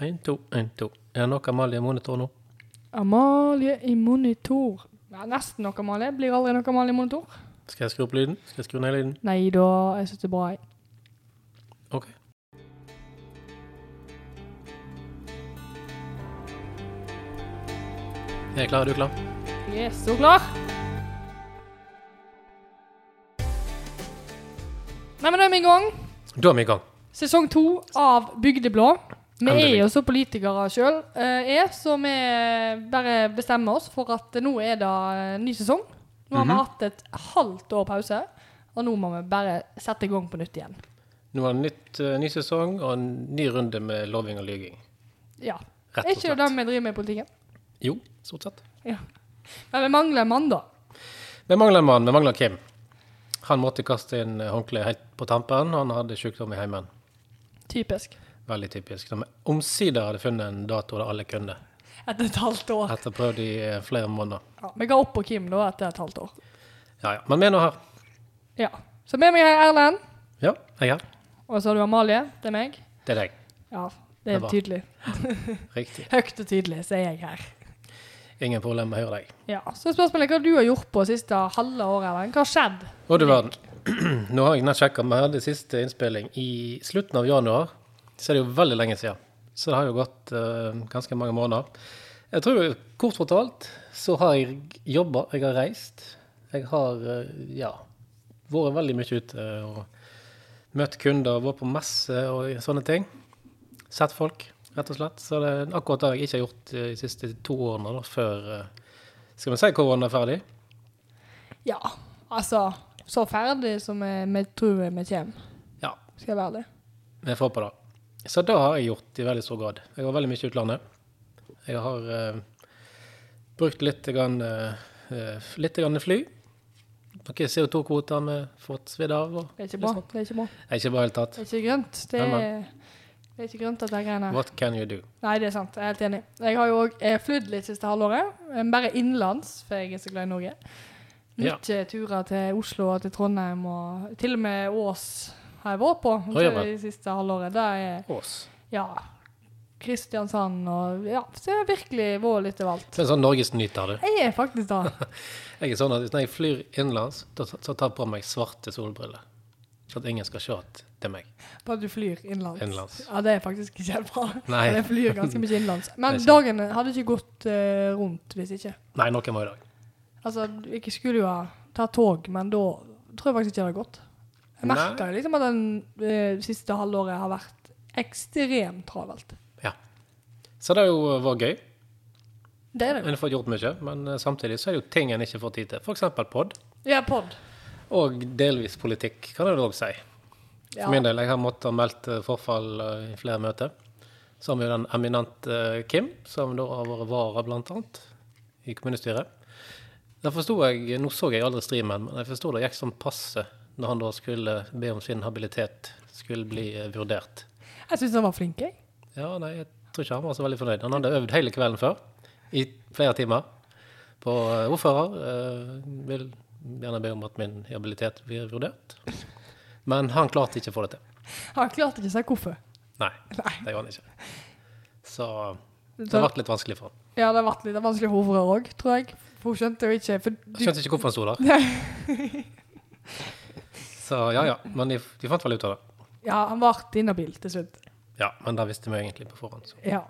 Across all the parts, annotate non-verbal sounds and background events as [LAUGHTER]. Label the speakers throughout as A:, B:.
A: Én, to, én, to. Er det nok Amalie Monitor nå?
B: Amalie i monitor. Ja, nesten nok Amalie. Blir aldri nok Amalie i monitor.
A: Skal jeg skru opp lyden? Skal jeg skru ned lyden?
B: Nei da, jeg syns det er bra. jeg.
A: OK. Jeg er klar. Er du klar?
B: Jeg er så klar. Nei, men da er vi i gang.
A: Da er vi i gang.
B: Sesong to av Bygdeblå. Vi er
A: Endelig.
B: jo så politikere sjøl, er, så vi bare bestemmer oss for at nå er det eh, ny sesong. Nå har
A: Mhm.
B: vi hatt et halvt år pause, og nå må vi bare sette i gang på nytt igjen.
A: Nå er det nytt, eh, ny sesong og en ny runde med loving og lyging.
B: Ja.
A: Rett
B: Er
A: og
B: ikke
A: slett.
B: det det vi driver med i politikken?
A: Jo, stort sett.
B: Ja. Men vi mangler en mann, da.
A: Vi mangler en mann. Vi mangler Kim. Han måtte kaste inn eh, håndkleet helt på tampen. Han hadde sykdom i heimen.
B: Typisk.
A: Veldig typisk. Når vi omsider hadde funnet en dato der alle kunne.
B: Etter et halvt år.
A: Etter prøvd i eh, flere måneder.
B: Ja, vi ga opp på Kim da etter et halvt år.
A: Ja, ja. Men vi er nå her.
B: Ja. Så med meg er Erlend,
A: Ja, jeg er her.
B: og så har du Amalie. Det er meg.
A: Det er deg.
B: Ja, det
A: Det
B: er
A: var-
B: tydelig.
A: Riktig.
B: Høyt og tydelig så er jeg her.
A: Ingen problem med å høre deg.
B: Ja, Så er spørsmålet hva du har gjort på siste halve året. Erlend. Hva har skjedd?
A: Og du verden. [CLEARS THROAT] Nå har jeg nett sjekka. Vi hadde siste innspilling i slutten av januar. Så er det jo veldig lenge siden. Så det har jo gått eh, ganske mange måneder. Jeg tror kort fortalt så har jeg jobba, jeg har reist. Jeg har eh, ja, vært veldig mye ute og møtt kunder, vært på messe og sånne ting. Sett folk, rett og slett. Så det er akkurat det jeg ikke har gjort eh, de siste to årene, da, før eh, Skal vi si korona er ferdig?
B: Ja, altså Så ferdig som vi vi tror vi kommer,
A: Ja,
B: skal jeg være ærlig.
A: Vi får på det. Så det har jeg gjort i veldig stor grad. Jeg har veldig mye i utlandet. Jeg har eh, brukt litt, grann, eh, eh, litt grann fly. Noen CO2-kvoter vi har fått svidd av. Og,
B: Det er ikke bra. Det er ikke bra.
A: Nei, ikke bare i det hele tatt.
B: Det er ikke grønt. Det
A: Men,
B: er, det er ikke grønt, dette greiene her.
A: What can you do?
B: Nei, det er sant. Jeg er helt enig. Jeg har jo òg flydd litt siste halvåret. Eh, Bare innenlands, for jeg er så glad i Norge.
A: Ja.
B: Mye turer til Oslo og til Trondheim, og til og med Ås har jeg vært på
A: Oi, ja vel.
B: det siste halvåret. Det er
A: Ås.
B: ja, Kristiansand og ja, så jeg har virkelig vært litt overalt.
A: Jeg er sånn norgesnyter, du.
B: Jeg er faktisk da.
A: Jeg er sånn at når jeg flyr innenlands, da- så tar jeg på meg svarte solbriller. Så at ingen skal se at det er meg.
B: På at du flyr innenlands.
A: Innenlands.
B: Ja, det er faktisk ikke helt bra.
A: Nei.
B: Men jeg flyr ganske mye innenlands.
A: [LAUGHS]
B: Men
A: Det er sant.
B: dagene hadde ikke gått eh, rundt hvis ikke.
A: Nei, noen må i dag.
B: Altså, jeg skulle jo ha tatt tog, men da tror jeg faktisk ikke det hadde gått. Jeg
A: Nei.
B: merker jo liksom at den eh, siste halvåret har vært ekstremt travelt.
A: Så det har jo vært gøy.
B: Det er det.
A: En får gjort mye, men eh, samtidig så er det jo ting en ikke får tid til. F.eks. pod.
B: Ja, pod.
A: Og delvis politikk, kan jeg òg si. For
B: Ja.
A: min del, jeg har måttet meldt eh, forfall eh, i flere møter. Så har vi jo den eminente eh, Kim, som da har vært vara, blant annet, i kommunestyret. Da forsto jeg Nå så jeg aldri streamen, men jeg forsto det gikk som passe når han da skulle be om sin habilitet skulle bli eh, vurdert.
B: Jeg syns han var flink, jeg.
A: Ja, nei, jeg tror ikke han var så veldig fornøyd. Han hadde øvd hele kvelden før, i flere timer, på eh, ordfører. eh, Vil gjerne be om at min habilitet blir vurdert. Men han klarte ikke å få det til.
B: Han klarte ikke å si hvorfor.
A: Nei,
B: Nei.
A: det gjorde han ikke. Så det
B: Så-
A: ble litt vanskelig for han.
B: Ja, det har vært litt vanskelig hovedrør òg, tror jeg. For hun skjønte jo ikke for
A: Han
B: du,
A: Skjønte ikke hvorfor han sto der. [LAUGHS] Så ja, ja. Men de, de fant vel ut av det.
B: Ja, han ble inhabil til slutt.
A: Ja, men det visste vi egentlig på forhånd. Så.
B: Ja.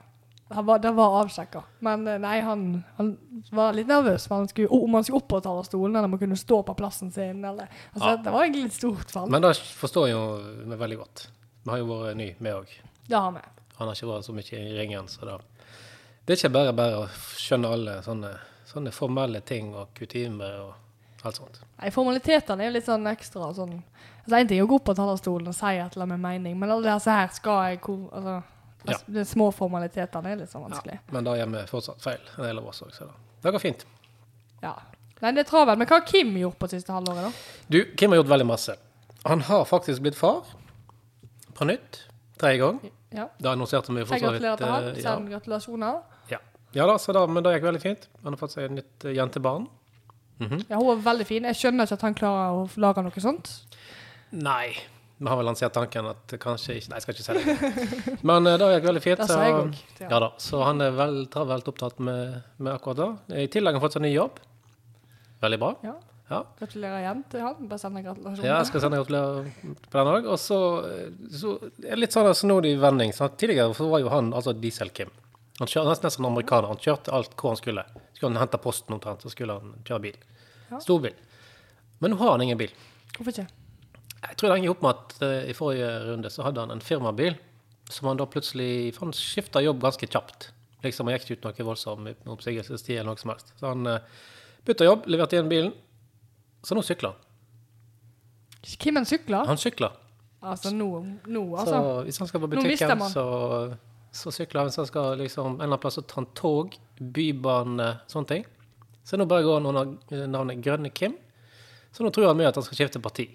B: Han var, det var avsjekka. Men eh, nei, han, han var litt nervøs for han skulle, om han skulle opp på talerstolen, eller om han kunne stå på plassen sin, eller
A: Ja.
B: altså, Det var egentlig litt stort for han.
A: Men det forstår jeg jo vi veldig godt. Vi har jo vært ny, vi òg.
B: Det har vi.
A: Han har ikke vært så mye i ringen, så da Det er ikke bare bare å skjønne alle sånne, sånne formelle ting og kutymer og alt sånt.
B: Nei, formalitetene er jo litt sånn ekstra og sånn. Altså, en ting er å gå opp på talerstolen og si et eller annet med mening, men alle disse her skal jeg hvor- altså,
A: Ja.
B: altså, De små formalitetene er litt sånn
A: Ja.
B: vanskelig.
A: Men da gjør vi fortsatt feil, en del av oss òg, så da. det går fint.
B: Ja. Nei, det er travelt. Men hva har Kim gjort på siste halvåret, da?
A: Du, Kim har gjort veldig masse. Han har faktisk blitt far på nytt. Tredje gang.
B: Ja.
A: Da annonserte vi
B: Jeg
A: for så vidt
B: gratulerer til han.
A: eh,
B: Send gratulasjoner.
A: ja. ja da, så da, men det gikk veldig fint. Han har fått seg et nytt eh, jentebarn. Mm.
B: Ja, hun var veldig fin. Jeg skjønner ikke at han klarer å lage noe sånt.
A: Nei, Vi har vel lansert tanken at kanskje ikke Nei, jeg skal ikke si det.
B: [LAUGHS]
A: Men eh, det gikk veldig fint.
B: Det sa jeg òg.
A: ja. da, så han er vel travelt opptatt med, med akkurat det. I tillegg har han fått seg ny jobb. Veldig bra.
B: Ja.
A: Ja.
B: Gratulerer igjen til han. Bare send en gratulasjon.
A: Ja, jeg skal sende gratulerer på den òg. Og så, så er det litt sånn en snodig vending. sant? tidligere så var jo han altså Diesel-Kim. Han kjørte nesten som en amerikaner. Han kjørte alt hvor han skulle. Skulle han hente posten omtrent, så skulle han kjøre bil.
B: Ja.
A: Storbil. Men nå har han ingen bil.
B: Hvorfor ikke?
A: Jeg tror det henger opp med at eh, i forrige runde så hadde han en firmabil som han da plutselig for Han skifta jobb ganske kjapt. Liksom Han gikk ikke ut noe voldsom oppsigelsestid eller noe som helst. Så han uh, bytta jobb, leverte igjen bilen. Så nå sykler han.
B: Kimmen sykler?
A: Han sykler.
B: Altså, nå, nå altså.
A: Så hvis han skal på
B: Nå mister
A: butikken,
B: man.
A: så, så sykler han. Hvis han skal liksom, en eller annen plass så tar han tog, bybane, sånne ting. Så nå bare går han under navnet Grønne Kim. Så nå tror han mye at han skal skifte parti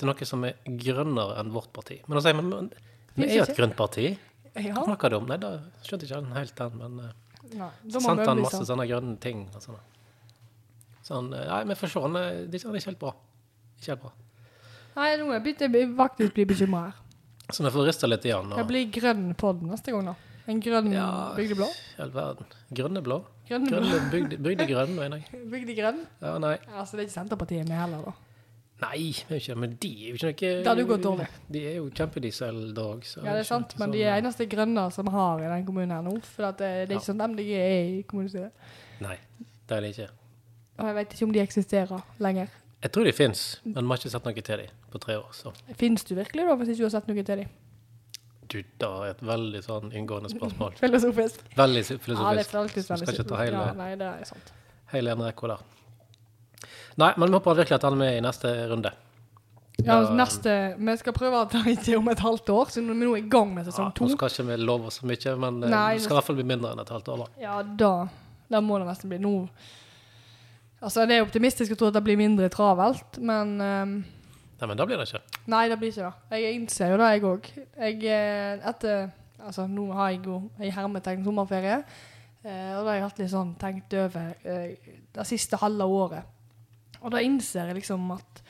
A: til noe som er grønnere enn vårt parti. Men da sier man men, vi er jo et grønt parti. Hva
B: Ja.
A: snakker du om? Nei, da skjønte ikke han helt den, men eh,
B: Nei, da
A: så
B: må
A: sendte
B: vi
A: han
B: øve
A: masse sånne grønne ting. Og sånne. Så han eh, Nei, vi får se. Han er det er ikke- han er ikke helt bra. Ikke helt bra.
B: Nei, nå er jeg begynt- jeg blir faktisk blir bekymra her.
A: Så vi får rista litt i han.
B: Jeg
A: Og,
B: blir grønn på den neste gang, da. En grønn
A: Ja.
B: bygdeblå.
A: i all verden. Grønne blå.
B: Grønn,
A: Grønne, bygde, bygde grønn, mener jeg.
B: Bygdegrønn.
A: Ja, nei.
B: Altså, det er ikke Senterpartiet med heller, da.
A: Nei, vi er jo ikke det, men de er jo ikke noe
B: Det hadde jo gått dårlig.
A: De er jo kjempedieseldrag. så
B: Ja, det er sant, men de
A: sånn-
B: er eneste grønne som har i den kommunen her nå. For at det, det er ikke sånn at MDG er i kommunestyret.
A: Nei, det er de ikke.
B: Og jeg vet ikke om de eksisterer lenger.
A: Jeg tror de fins, men vi har ikke sett noe til dem på tre år. Så
B: Fins du virkelig, da, hvis ikke du har sett noe til dem?
A: du, da er et veldig sånn inngående spørsmål.
B: Filosofisk.
A: Veldig
B: Ja, det er
A: filosofisk.
B: alltid
A: Så
B: veldig
A: skal ikke ta hele-
B: Ja, nei, det er sant.
A: Hele en rekke der. Nei, men vi håper virkelig at han er med i neste runde.
B: Ja,
A: Ja,
B: neste, Vi skal prøve at det ikke er om et halvt år, så nå er vi nå i gang med
A: Ja, altså, nå
B: sesong to.
A: skal ikke vi love så mye, men eh,
B: Nei,
A: det skal i hvert fall bli mindre enn et halvt år. da.
B: Ja, da. Da må det nesten bli nå. Altså, det er optimistisk å tro at det blir mindre travelt, men ehm,
A: Nei, men da blir det ikke.
B: Nei, det blir ikke det. Jeg innser jo det, jeg òg. Jeg eh, etter Altså, nå har jeg jo i hermetegn sommerferie, eh, og da har jeg hatt litt sånn tenkt over eh, det siste halve året. Og da innser jeg liksom at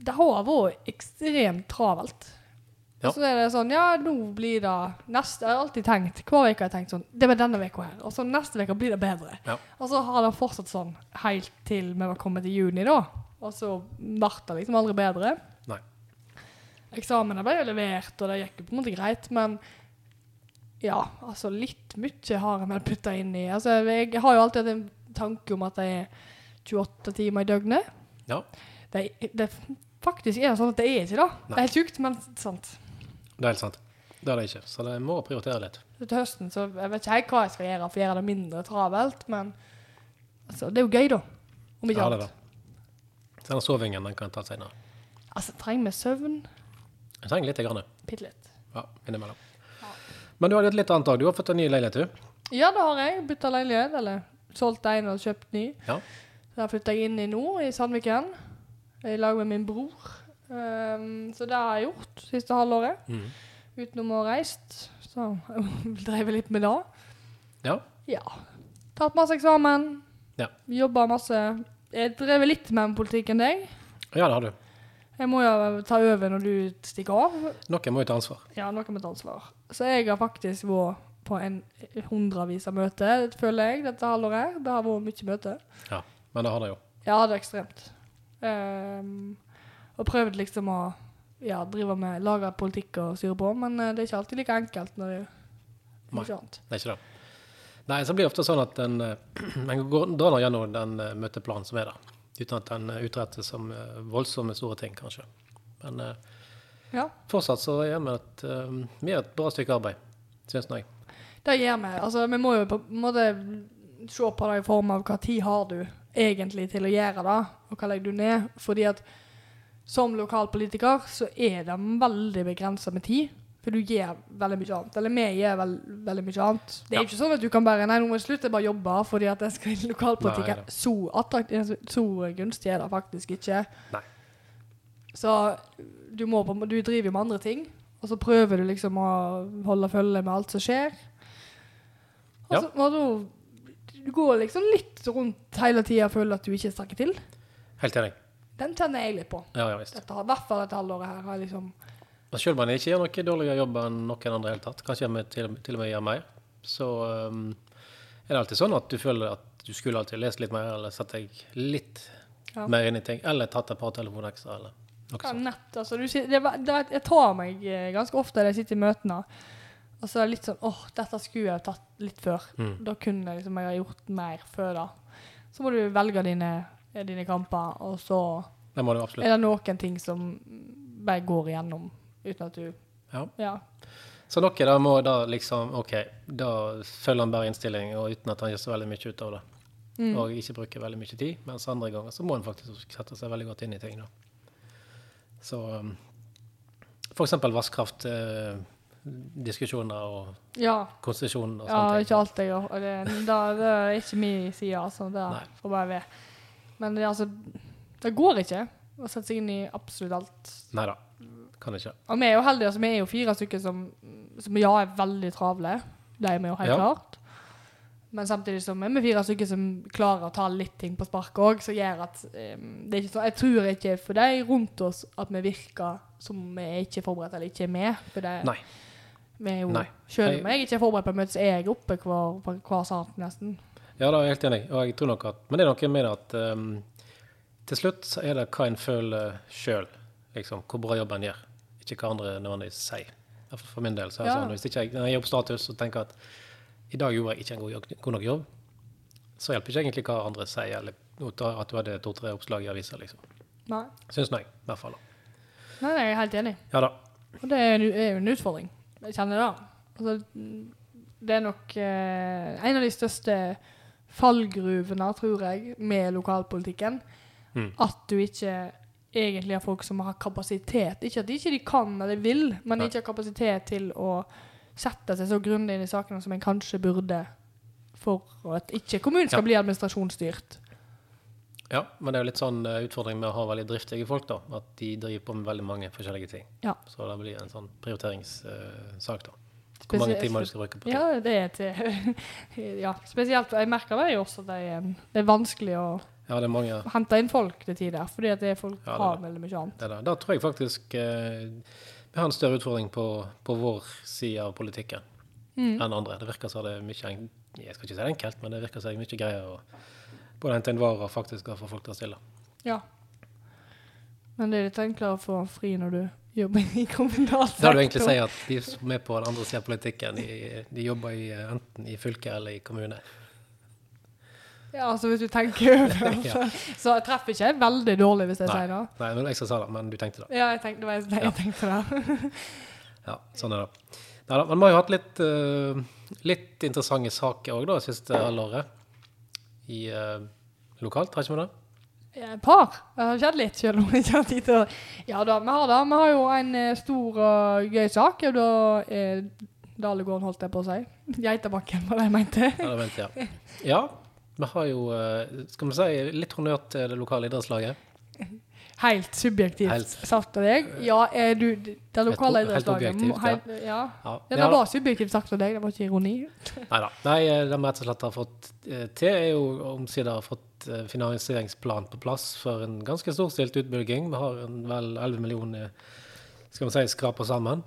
B: det har vært ekstremt travelt.
A: Ja.
B: Så er det sånn Ja, nå blir det neste Jeg har alltid tenkt hver uke har jeg tenkt sånn Det var denne uka her. Og så neste uke blir det bedre.
A: Ja.
B: Og så har det fortsatt sånn helt til vi var kommet til juni, da. Og så ble det liksom aldri bedre.
A: Nei.
B: Eksamene ble jo levert, og det gikk jo på en måte greit, men ja, altså litt mye har jeg vel putta inn i. Altså, jeg har jo alltid hatt en tanke om at det er 28 timer i døgnet.
A: Ja.
B: Det, det faktisk er det sånn at det er ikke det. Det er helt sjukt, men sant.
A: Det er helt sant. Det er det ikke. Så det må prioritere litt.
B: Til høsten så jeg vet ikke helt hva jeg skal gjøre for å gjøre det mindre travelt, men altså, det er jo gøy, da. Om ikke
A: Ja, det er
B: annet.
A: det. Så den sovingen den kan jeg ta senere.
B: Altså, trenger vi søvn?
A: Jeg trenger litt. Grann.
B: Bitte litt.
A: Ja, innimellom. Men du har litt litt annet òg. Du har fått en ny leilighet, du.
B: Ja, det har jeg. Bytta leilighet, eller solgt en og kjøpt ny.
A: Ja.
B: Der flytta jeg inn i nå, i Sandviken, i lag med min bror. Ehm, så det har jeg gjort siste halvåret.
A: Mm.
B: Utenom å ha reist, så [LAUGHS] drev jeg litt med det.
A: Ja.
B: Ja. Tatt masse eksamen.
A: Ja.
B: Jobba masse. Jeg drev litt mer med politikk enn deg.
A: ja, det har du.
B: Jeg må jo ta over når du stikker av.
A: Noen må jo ta ansvar.
B: Ja, noe med et ansvar. Så jeg har faktisk vært på en hundrevis av møter, føler jeg, dette halvåret. her. Det har vært mye møter.
A: Ja, Men det har de jo.
B: Ja, det er ekstremt. Ehm, og prøvd liksom å ja, drive med lage politikk og styre på, men eh, det er ikke alltid like enkelt når det er
A: Nei.
B: ikke annet.
A: Det er ikke det. Nei, så blir det ofte sånn at en, eh, [CLEARS THROAT] en går, drar nå gjennom den eh, møteplanen som er der. Uten at en eh, utretter som eh, voldsomme store ting, kanskje. Men eh,
B: Ja,
A: fortsatt så gjør vi et, eh, vi gjør et bra stykke arbeid, syns jeg.
B: det gjør vi. Altså, vi må jo på en måte se på det i form av hva tid har du egentlig til å gjøre det, og hva legger du ned? Fordi at som lokalpolitiker så er det veldig begrenset med tid, for du gjør veldig mye annet. Eller vi gjør vel, veldig mye annet. Det er
A: Ja.
B: ikke sånn at du kan bare Nei, nå må jeg slutte, jeg bare jobbe, fordi at jeg skal i
A: Nei,
B: lokalpolitikken.
A: da.
B: Så, attraktiv, så gunstig er det faktisk ikke.
A: Nei.
B: Så du, må, på- du driver jo med andre ting, og så prøver du liksom å holde følge med alt som skjer. Og
A: Ja.
B: så og da- du går liksom litt rundt hele tida og føler at du ikke strekker til.
A: Helt enig.
B: den tenner jeg litt på.
A: Ja, ja visst.
B: Dette, har- I hvert fall dette halvåret her har jeg liksom
A: Og selv om han ikke gjør noe dårligere jobb enn noen andre i hele tatt, kanskje han til, til og med gjør mer, så um, er det alltid sånn at du føler at du skulle alltid lest litt mer, eller satt deg litt
B: Ja.
A: mer inn i ting, eller tatt et par telefoner ekstra, eller noe
B: Ja,
A: sånt.
B: nett, altså. Du, sier- det, var- det, jeg tar meg eh, ganske ofte når jeg sitter i møtene. Og så er det litt sånn åh, dette skulle jeg tatt litt før.
A: Mm.
B: Da kunne jeg liksom, jeg ha gjort mer før da. Så må du velge dine, eh, dine kamper, og så
A: Det må du absolutt.
B: er det noen ting som bare går igjennom uten at du
A: Ja.
B: Ja.
A: Så noe da må da liksom OK, da følger han bare innstilling, og uten at han gjør så veldig mye ut av det.
B: Mm.
A: Og ikke bruker veldig mye tid. Mens andre ganger så må en faktisk sette seg veldig godt inn i ting, da. Så um, for eksempel vannkraftdiskusjoner og
B: ja.
A: konsesjon og
B: Ja,
A: sånne
B: ikke alt jeg gjør. og Det, da, det er ikke min side, altså. Det
A: Nei.
B: får bare være. Men det, altså, det går ikke å sette seg inn i absolutt alt.
A: ting. Nei da, kan ikke.
B: Og vi er jo heldige, altså, vi er jo fire stykker som, som ja, er veldig travle. Det er vi jo helt
A: Ja.
B: klart. Men samtidig som er vi fire stykker som klarer å ta litt ting på sparket òg, som gjør at eh, det er ikke sånn, Jeg tror ikke for de rundt oss at vi virker som vi er ikke forberedt eller ikke er med. For det,
A: Nei.
B: vi er jo,
A: Nei.
B: Selv om jeg ikke er forberedt på møte, så er jeg oppe hver, på hver sak nesten.
A: Ja, da er jeg helt enig. Og jeg tror nok at, men det er noe med det at ehm, til slutt så er det hva en føler sjøl, liksom, hvor bra jobb en gjør. Ikke hva andre nødvendigvis sier. I hvert fall For min del så er det
B: Ja.
A: sånn, hvis ikke jeg når jeg gir opp status og tenker at i dag gjorde jeg ikke en god, jog- god nok jobb, så hjelper ikke egentlig hva andre sier, eller at du hadde to-tre oppslag i avisa, liksom.
B: Nei.
A: Syns nå jeg, i hvert fall. da.
B: Nei, nei, jeg er helt enig.
A: Ja da.
B: Og det er jo en- er jo en utfordring. Jeg kjenner det. Altså, det er nok eh, en av de største fallgruvene, tror jeg, med lokalpolitikken.
A: Mm.
B: At du ikke egentlig har folk som har kapasitet. Ikke at de ikke de kan eller vil, men
A: Nei.
B: ikke har kapasitet til å sette seg så grundig inn i sakene som en kanskje burde. For at ikke kommunen skal
A: Ja.
B: bli administrasjonsstyrt.
A: Ja, men det er jo litt sånn eh, utfordring med å ha veldig driftige folk, da. At de driver på med veldig mange forskjellige ting.
B: Ja.
A: Så det blir en sånn prioriteringssak, da. Hvor mange
B: Spesielt-
A: timer du skal bruke på ting.
B: Ja, det er til [LAUGHS] Ja, spesielt. Jeg merker det jo også at det er, det er vanskelig å
A: Ja, det er mange
B: hente inn folk til tider, fordi at det er folk
A: Ja, det er
B: har
A: det.
B: veldig mye annet.
A: det der. Da tror jeg faktisk eh, vi har en større utfordring på, på vår side av politikken
B: Mm.
A: enn andre. Det virker som det er mye en- Jeg skal ikke si det er enkelt, men det virker som det er mye greier å både hente inn varer og faktisk få folk til å stille.
B: Ja. Men det er litt enklere å få fri når du
A: Da
B: jobber i
A: vil du egentlig
B: kommunalsektoren.
A: si at de som er på den andre siden av politikken, de, de jobber i, eh, enten i fylke eller i kommune.
B: Ja, altså hvis du tenker over det.
A: [LAUGHS] Ja.
B: Så jeg treffer ikke veldig dårlig hvis jeg
A: Nei.
B: sier det.
A: Nei, men jeg som sa det, men du tenkte det.
B: Ja, jeg tenkte, det var det jeg tenkte [LAUGHS] der.
A: Ja, sånn er det. Neida, men vi har jo hatt litt, eh, litt interessante saker òg, da, det siste halvåret. I eh, lokalt, har ikke vi det?
B: Ja, Et par. Det har skjedd litt, selv om jeg ikke har tid til å Ja da, vi har det. Vi har jo en eh, stor og gøy sak. Og da eh, Dalegården, holdt jeg på å si. Geitabakken, var det jeg mente.
A: Ja, det venter jeg. Ja, vi har jo eh, Skal vi si litt honnør til det lokale idrettslaget?
B: Helt subjektivt
A: Helt.
B: sagt av deg. Ja, eh, du, det lokale
A: Helt- helt
B: idrettslaget må-
A: objektivt,
B: helt- ja.
A: Ja,
B: Ja, det var subjektivt sagt av deg, det var ikke ironi.
A: Neida. Nei, eh, det vi rett og slett har fått eh, til, er jo omsider har fått eh, finansieringsplan på plass for en ganske storstilt utbygging. Vi har en vel 11 millioner, skal vi si, skraper sammen.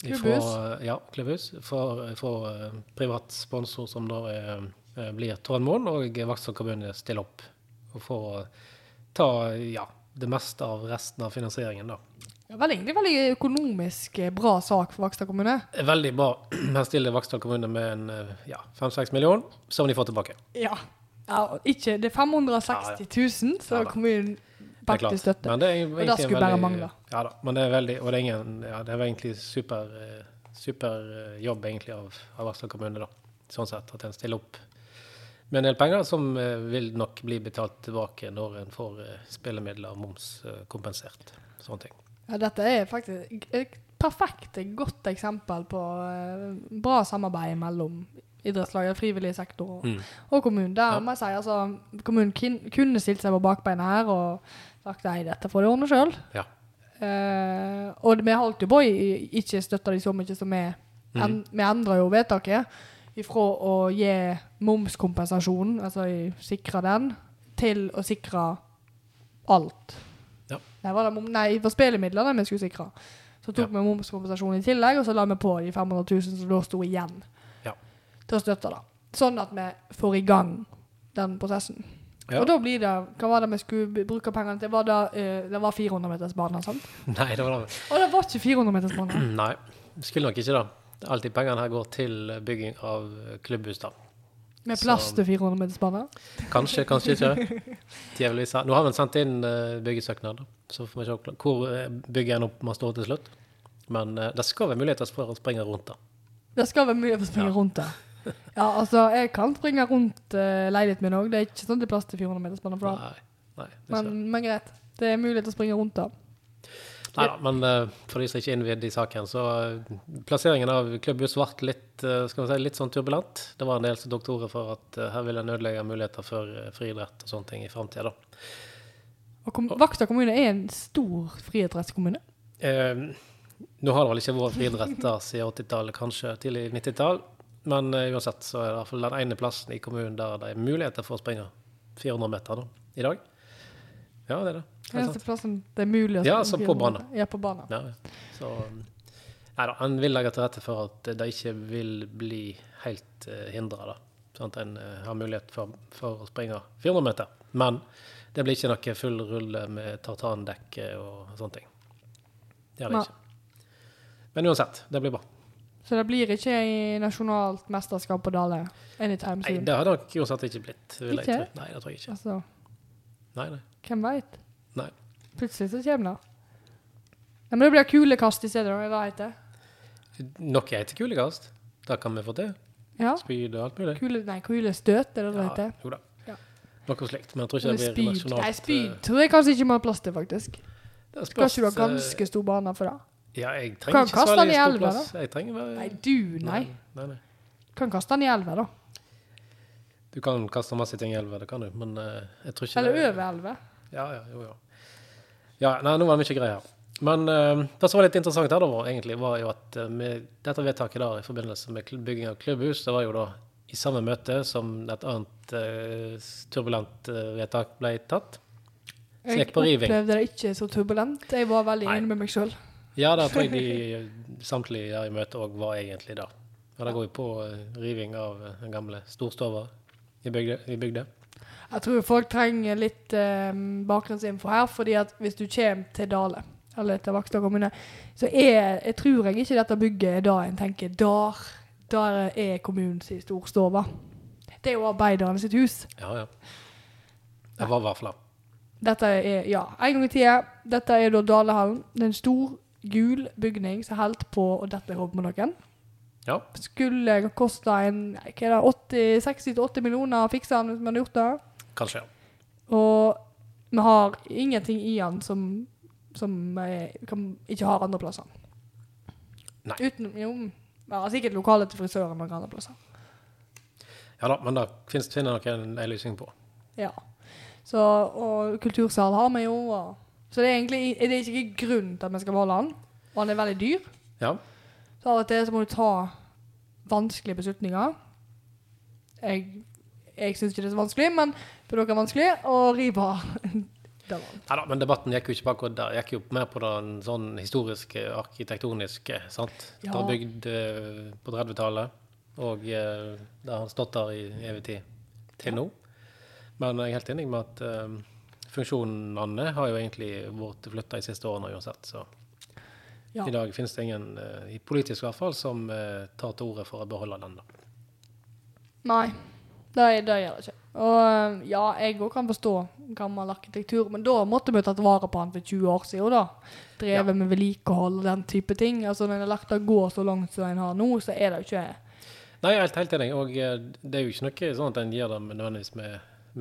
A: Ifra-
B: Klubbhus.
A: Ja, klubbhus. Fra, fra eh, privat sponsor, som da er, eh, blir Trondmoen, og Vaksdalkommunen stiller opp. Og får eh, ta ja, det meste av resten av finansieringen, da.
B: Ja, vel, egentlig veldig økonomisk eh, bra sak for Vaksdal kommune.
A: Veldig bra. [CLEARS THROAT] Her stiller Vaksdal kommune med en eh, ja, 5-6 millioner, som de får tilbake.
B: Ja. ja og ikke, det er 560 000 som
A: Ja da.
B: kommunen
A: Det er klart.
B: faktisk støtter.
A: Men det, er egentlig
B: det skulle
A: en
B: bare
A: veldig-
B: mangle.
A: Ja da, men det er veldig, og det er, ingen, ja, det er egentlig super, eh, super eh, jobb egentlig av, av Vaksdal kommune, da. Sånn sett, at en stiller opp med en del penger som eh, vil nok bli betalt tilbake når en får eh, spillemidler og moms eh, kompensert. Sånne ting.
B: Ja, dette er faktisk et perfekt eh, godt eksempel på eh, bra samarbeid mellom idrettslaget, frivillig sektor og,
A: Mm.
B: og kommunen. Der
A: Ja.
B: må jeg si, altså, kommunen kin, kunne stilt seg på bakbeina her og sagt nei, dette får de ordne sjøl.
A: Ja.
B: Eh, og vi holdt jo på i i- eh, ikke støtta de så mye som vi
A: Mhm.
B: en, Vi endra jo vedtaket ifra å gi momskompensasjon, altså i- sikre den, til å sikre alt.
A: Ja.
B: Nei, var det, mom- nei, det var spillemidler det vi skulle sikre. Så tok vi momskompensasjon i tillegg, og så la vi på de 500 000 som da sto igjen
A: Ja.
B: til å støtte det. Sånn at vi får i gang den prosessen.
A: Ja.
B: Og da blir det Hva var det vi skulle b- bruke pengene til? Var det, eh, det var 400-metersbane, sant?
A: [LAUGHS] Nei, det var det.
B: Og det var ikke 400-metersbane.
A: Nei, skulle nok ikke det. Alltid pengene her går til bygging av eh, klubbhus, da.
B: Med plass til 400-metersbane.
A: Kanskje, kanskje ikke. Djevelvis. her. Nå har vi sendt inn eh, byggesøknad, da. så får vi se hvor- hvor eh, bygget ender opp med å stå til slutt. Men eh, det skal være muligheter for å springe rundt det.
B: Det skal være mye å springe rundt der. Ja, altså, jeg kan springe rundt uh, leiligheten min òg. Det er ikke sånn det er plass til 400-metersbane. for da.
A: Nei, nei,
B: Men,
A: men,
B: men greit. Det er mulighet til å springe rundt der.
A: nei da, men eh, for de som ikke er innvidd i saken, så eh, plasseringen av klubbhus ble litt, eh, skal vi si, litt sånn turbulent. Det var en del som tok til orde for at eh, her vil en ødelegge muligheter for eh, friidrett og sånne ting i framtida.
B: Og kom, Vakta kommune er en stor friidrettskommune.
A: Eh, nå har det vel ikke vært friidretter siden 80-tallet, kanskje tidlig 90-tall. Men eh, uansett så er det i hvert fall den ene plassen i kommunen der det er muligheter for å springe 400 meter da, i dag. Ja, det er det. Helt sant.
B: Eneste plassen det er mulig å
A: Ja,
B: springe
A: altså på
B: 400
A: bane.
B: meter. Ja, på bane.
A: Ja, ja. Så nei da, en vil legge til rette for at det ikke vil bli helt uh, hindra, da. Sånn at en eh, har mulighet for, for å springe 400 meter. Men det blir ikke noe full rulle med tartandekke og sånne ting. Det er det
B: Nei.
A: ikke. Men uansett, det blir bra.
B: Så det blir ikke ei nasjonalt mesterskap på Dale anytime
A: Nei,
B: soon.
A: det hadde nok uansett ikke blitt. Vil jeg
B: Ikke?
A: tro. Nei, det tror jeg ikke.
B: altså,
A: Nei, nei.
B: hvem veit?
A: Nei.
B: Plutselig så kommer det. Nei, men det blir kulekast i stedet, da. Hva heter det?
A: Noe heter kulekast. Det kan vi få til.
B: Ja?
A: Spyd og alt mulig.
B: Kule, nei, kulestøt, er det det heter?
A: jo da.
B: Ja.
A: Noe slikt. Men jeg tror ikke
B: Eller
A: det blir
B: speed.
A: nasjonalt.
B: Nei, speed
A: eh,
B: tror jeg kanskje ikke vi har plass til, faktisk.
A: det
B: Skal
A: spørs,
B: ikke du ha
A: eh,
B: ganske stor bane for det?
A: Ja, jeg trenger
B: Kan
A: ikke
B: kaste
A: så
B: den
A: veldig
B: i
A: stor
B: elva,
A: plass. Jeg trenger bare
B: Nei, du, nei.
A: eh, nei, nei.
B: Kan kaste den i elva, da.
A: Du kan kaste masse ting i elva, det kan du, men eh, jeg tror ikke
B: Eller
A: det-
B: over elva.
A: Ja, ja, jo, ja. ja nei, nå var det mye greier. Men eh, det som var litt interessant her, da, var, egentlig, var jo at eh, med dette vedtaket der, i forbindelse med kl- bygging av klubbhus, det var jo da i samme møte som et annet eh, turbulent eh, vedtak ble tatt. Så
B: Jeg
A: gikk på riving.
B: opplevde det ikke så turbulent. Jeg var veldig
A: Nei.
B: enig med meg sjøl.
A: Ja, der tror jeg de samtlige her i møtet òg var egentlig det. Ja, det går jo på eh, riving av eh, den gamle storstova i bygde. I bygde.
B: Jeg tror folk trenger litt eh, bakgrunnsinfo her, fordi at hvis du kommer til Dale, eller til Vakstad kommune, så er jeg tror jeg ikke dette bygget er da en tenker der, der er kommunens storstove. Det er jo arbeiderne sitt hus.
A: Ja, ja. Det var i hvert fall det.
B: Dette er, ja, en gang i tida. Dette er da Dalehallen. Det er en stor, gul bygning som holdt på å dette hodet med noen.
A: Ja.
B: Skulle koste en, nei, hva er det, 60-80 millioner å fikse den hvis man hadde gjort det.
A: Kanskje. ja.
B: Og vi har ingenting i han som, som eh, kan, ikke har andre plasser.
A: Nei.
B: Uten, jo, vi har sikkert lokale til frisøren noen andre plasser.
A: Ja da, men det finnes, finner dere en en løsning på.
B: Ja. Så, og kultursal har vi jo. Og, så det er egentlig det er ikke grunn til at vi skal beholde han. Og han er veldig dyr.
A: Ja.
B: Så av og til så må du ta vanskelige beslutninger. Jeg, jeg syns ikke det er så vanskelig, men for dere er det vanskelig å rive [LAUGHS] den.
A: Neida, men debatten gikk jo ikke på akkurat der. Gikk jo mer på den sånn historiske, arkitektoniske. sant?
B: Ja.
A: Det var bygd eh, på 30-tallet, og eh, det har stått der i evig tid til nå. Men jeg er helt enig med at eh, funksjonene har jo egentlig vært flytta de siste årene uansett. Så
B: Ja.
A: i dag finnes det ingen, eh, i politisk i hvert fall, som eh, tar til orde for å beholde den. da.
B: Nei, det, det gjør det ikke. Og øhm, ja, jeg òg kan forstå gammel arkitektur, men da måtte vi tatt vare på han for 20 år siden. da. Drevet med vedlikehold og den type ting. Altså Når en har lagt det gå så langt som en har nå, så er det jo ikke
A: Nei, jeg er helt, helt enig. Og eh, det er jo ikke noe sånn at en gjør det med- nødvendigvis med,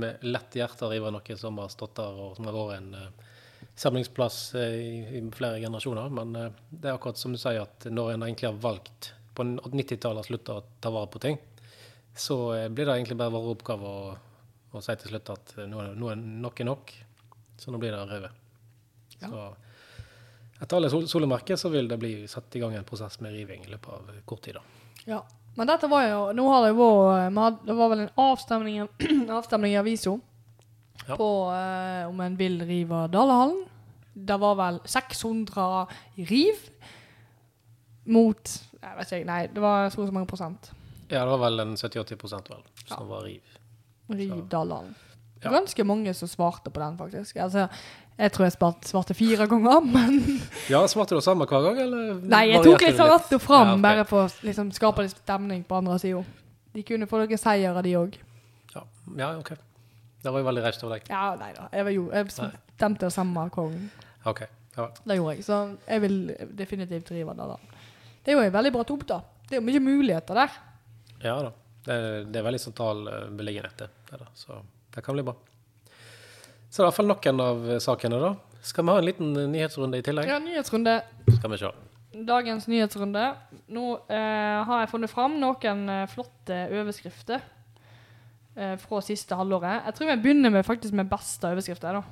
A: med lett hjerte å rive noe som har stått der og som har vært en eh, samlingsplass eh, i, i flere generasjoner. Men eh, det er akkurat som du sier, at når en egentlig har valgt på n- 90-tallet slutta å ta vare på ting, så eh, blir det egentlig bare vår oppgave å, å si til slutt at eh, nå er, nå er nok er nok, så nå blir det revet.
B: Ja.
A: Så etter alle sol solemerker så vil det bli satt i gang en prosess med riving i løpet av kort tid. da.
B: Ja. Men dette var jo Nå har det jo vært eh, vi hadde- Det var vel en [CLEARS THROAT] avstemning, avstemning i avisa
A: Ja.
B: på eh, om en vil rive Dalehallen. Det var vel 600 i riv mot Jeg vet ikke, nei, det var så og så mange prosent.
A: Ja, det var vel en 70-80 vel, som
B: Ja.
A: var riv.
B: Rivdalen.
A: Ja.
B: Ganske mange som svarte på den, faktisk. Altså, jeg tror jeg spart, svarte fire ganger, [LAUGHS] men
A: Ja, Svarte du det samme hver gang, eller?
B: Nei, jeg
A: varierte
B: tok
A: du
B: litt fra rattet og fram,
A: Ja, ok.
B: bare for å liksom, skape litt stemning på andre sida. De kunne få noen seire, de òg.
A: Ja, ja OK. Det var jo veldig raust av deg.
B: Ja, nei da. Jeg, var jo, jeg stemte det samme kongen.
A: OK. Ja.
B: Det gjorde jeg. Så jeg vil definitivt drive det. da. Det er jo en veldig bra tomt, da. Det er jo mye muligheter der.
A: Ja da. Det, det er veldig sentral eh, beliggenhet, det. det da. Så det kan bli bra. Så det er i hvert fall noen av eh, sakene, da. Skal vi ha en liten eh, nyhetsrunde i tillegg?
B: Ja, nyhetsrunde.
A: Skal vi se.
B: Dagens nyhetsrunde. Nå eh, har jeg funnet fram noen eh, flotte overskrifter eh, fra siste halvåret. Jeg tror vi begynner med faktisk med beste overskrifter. da.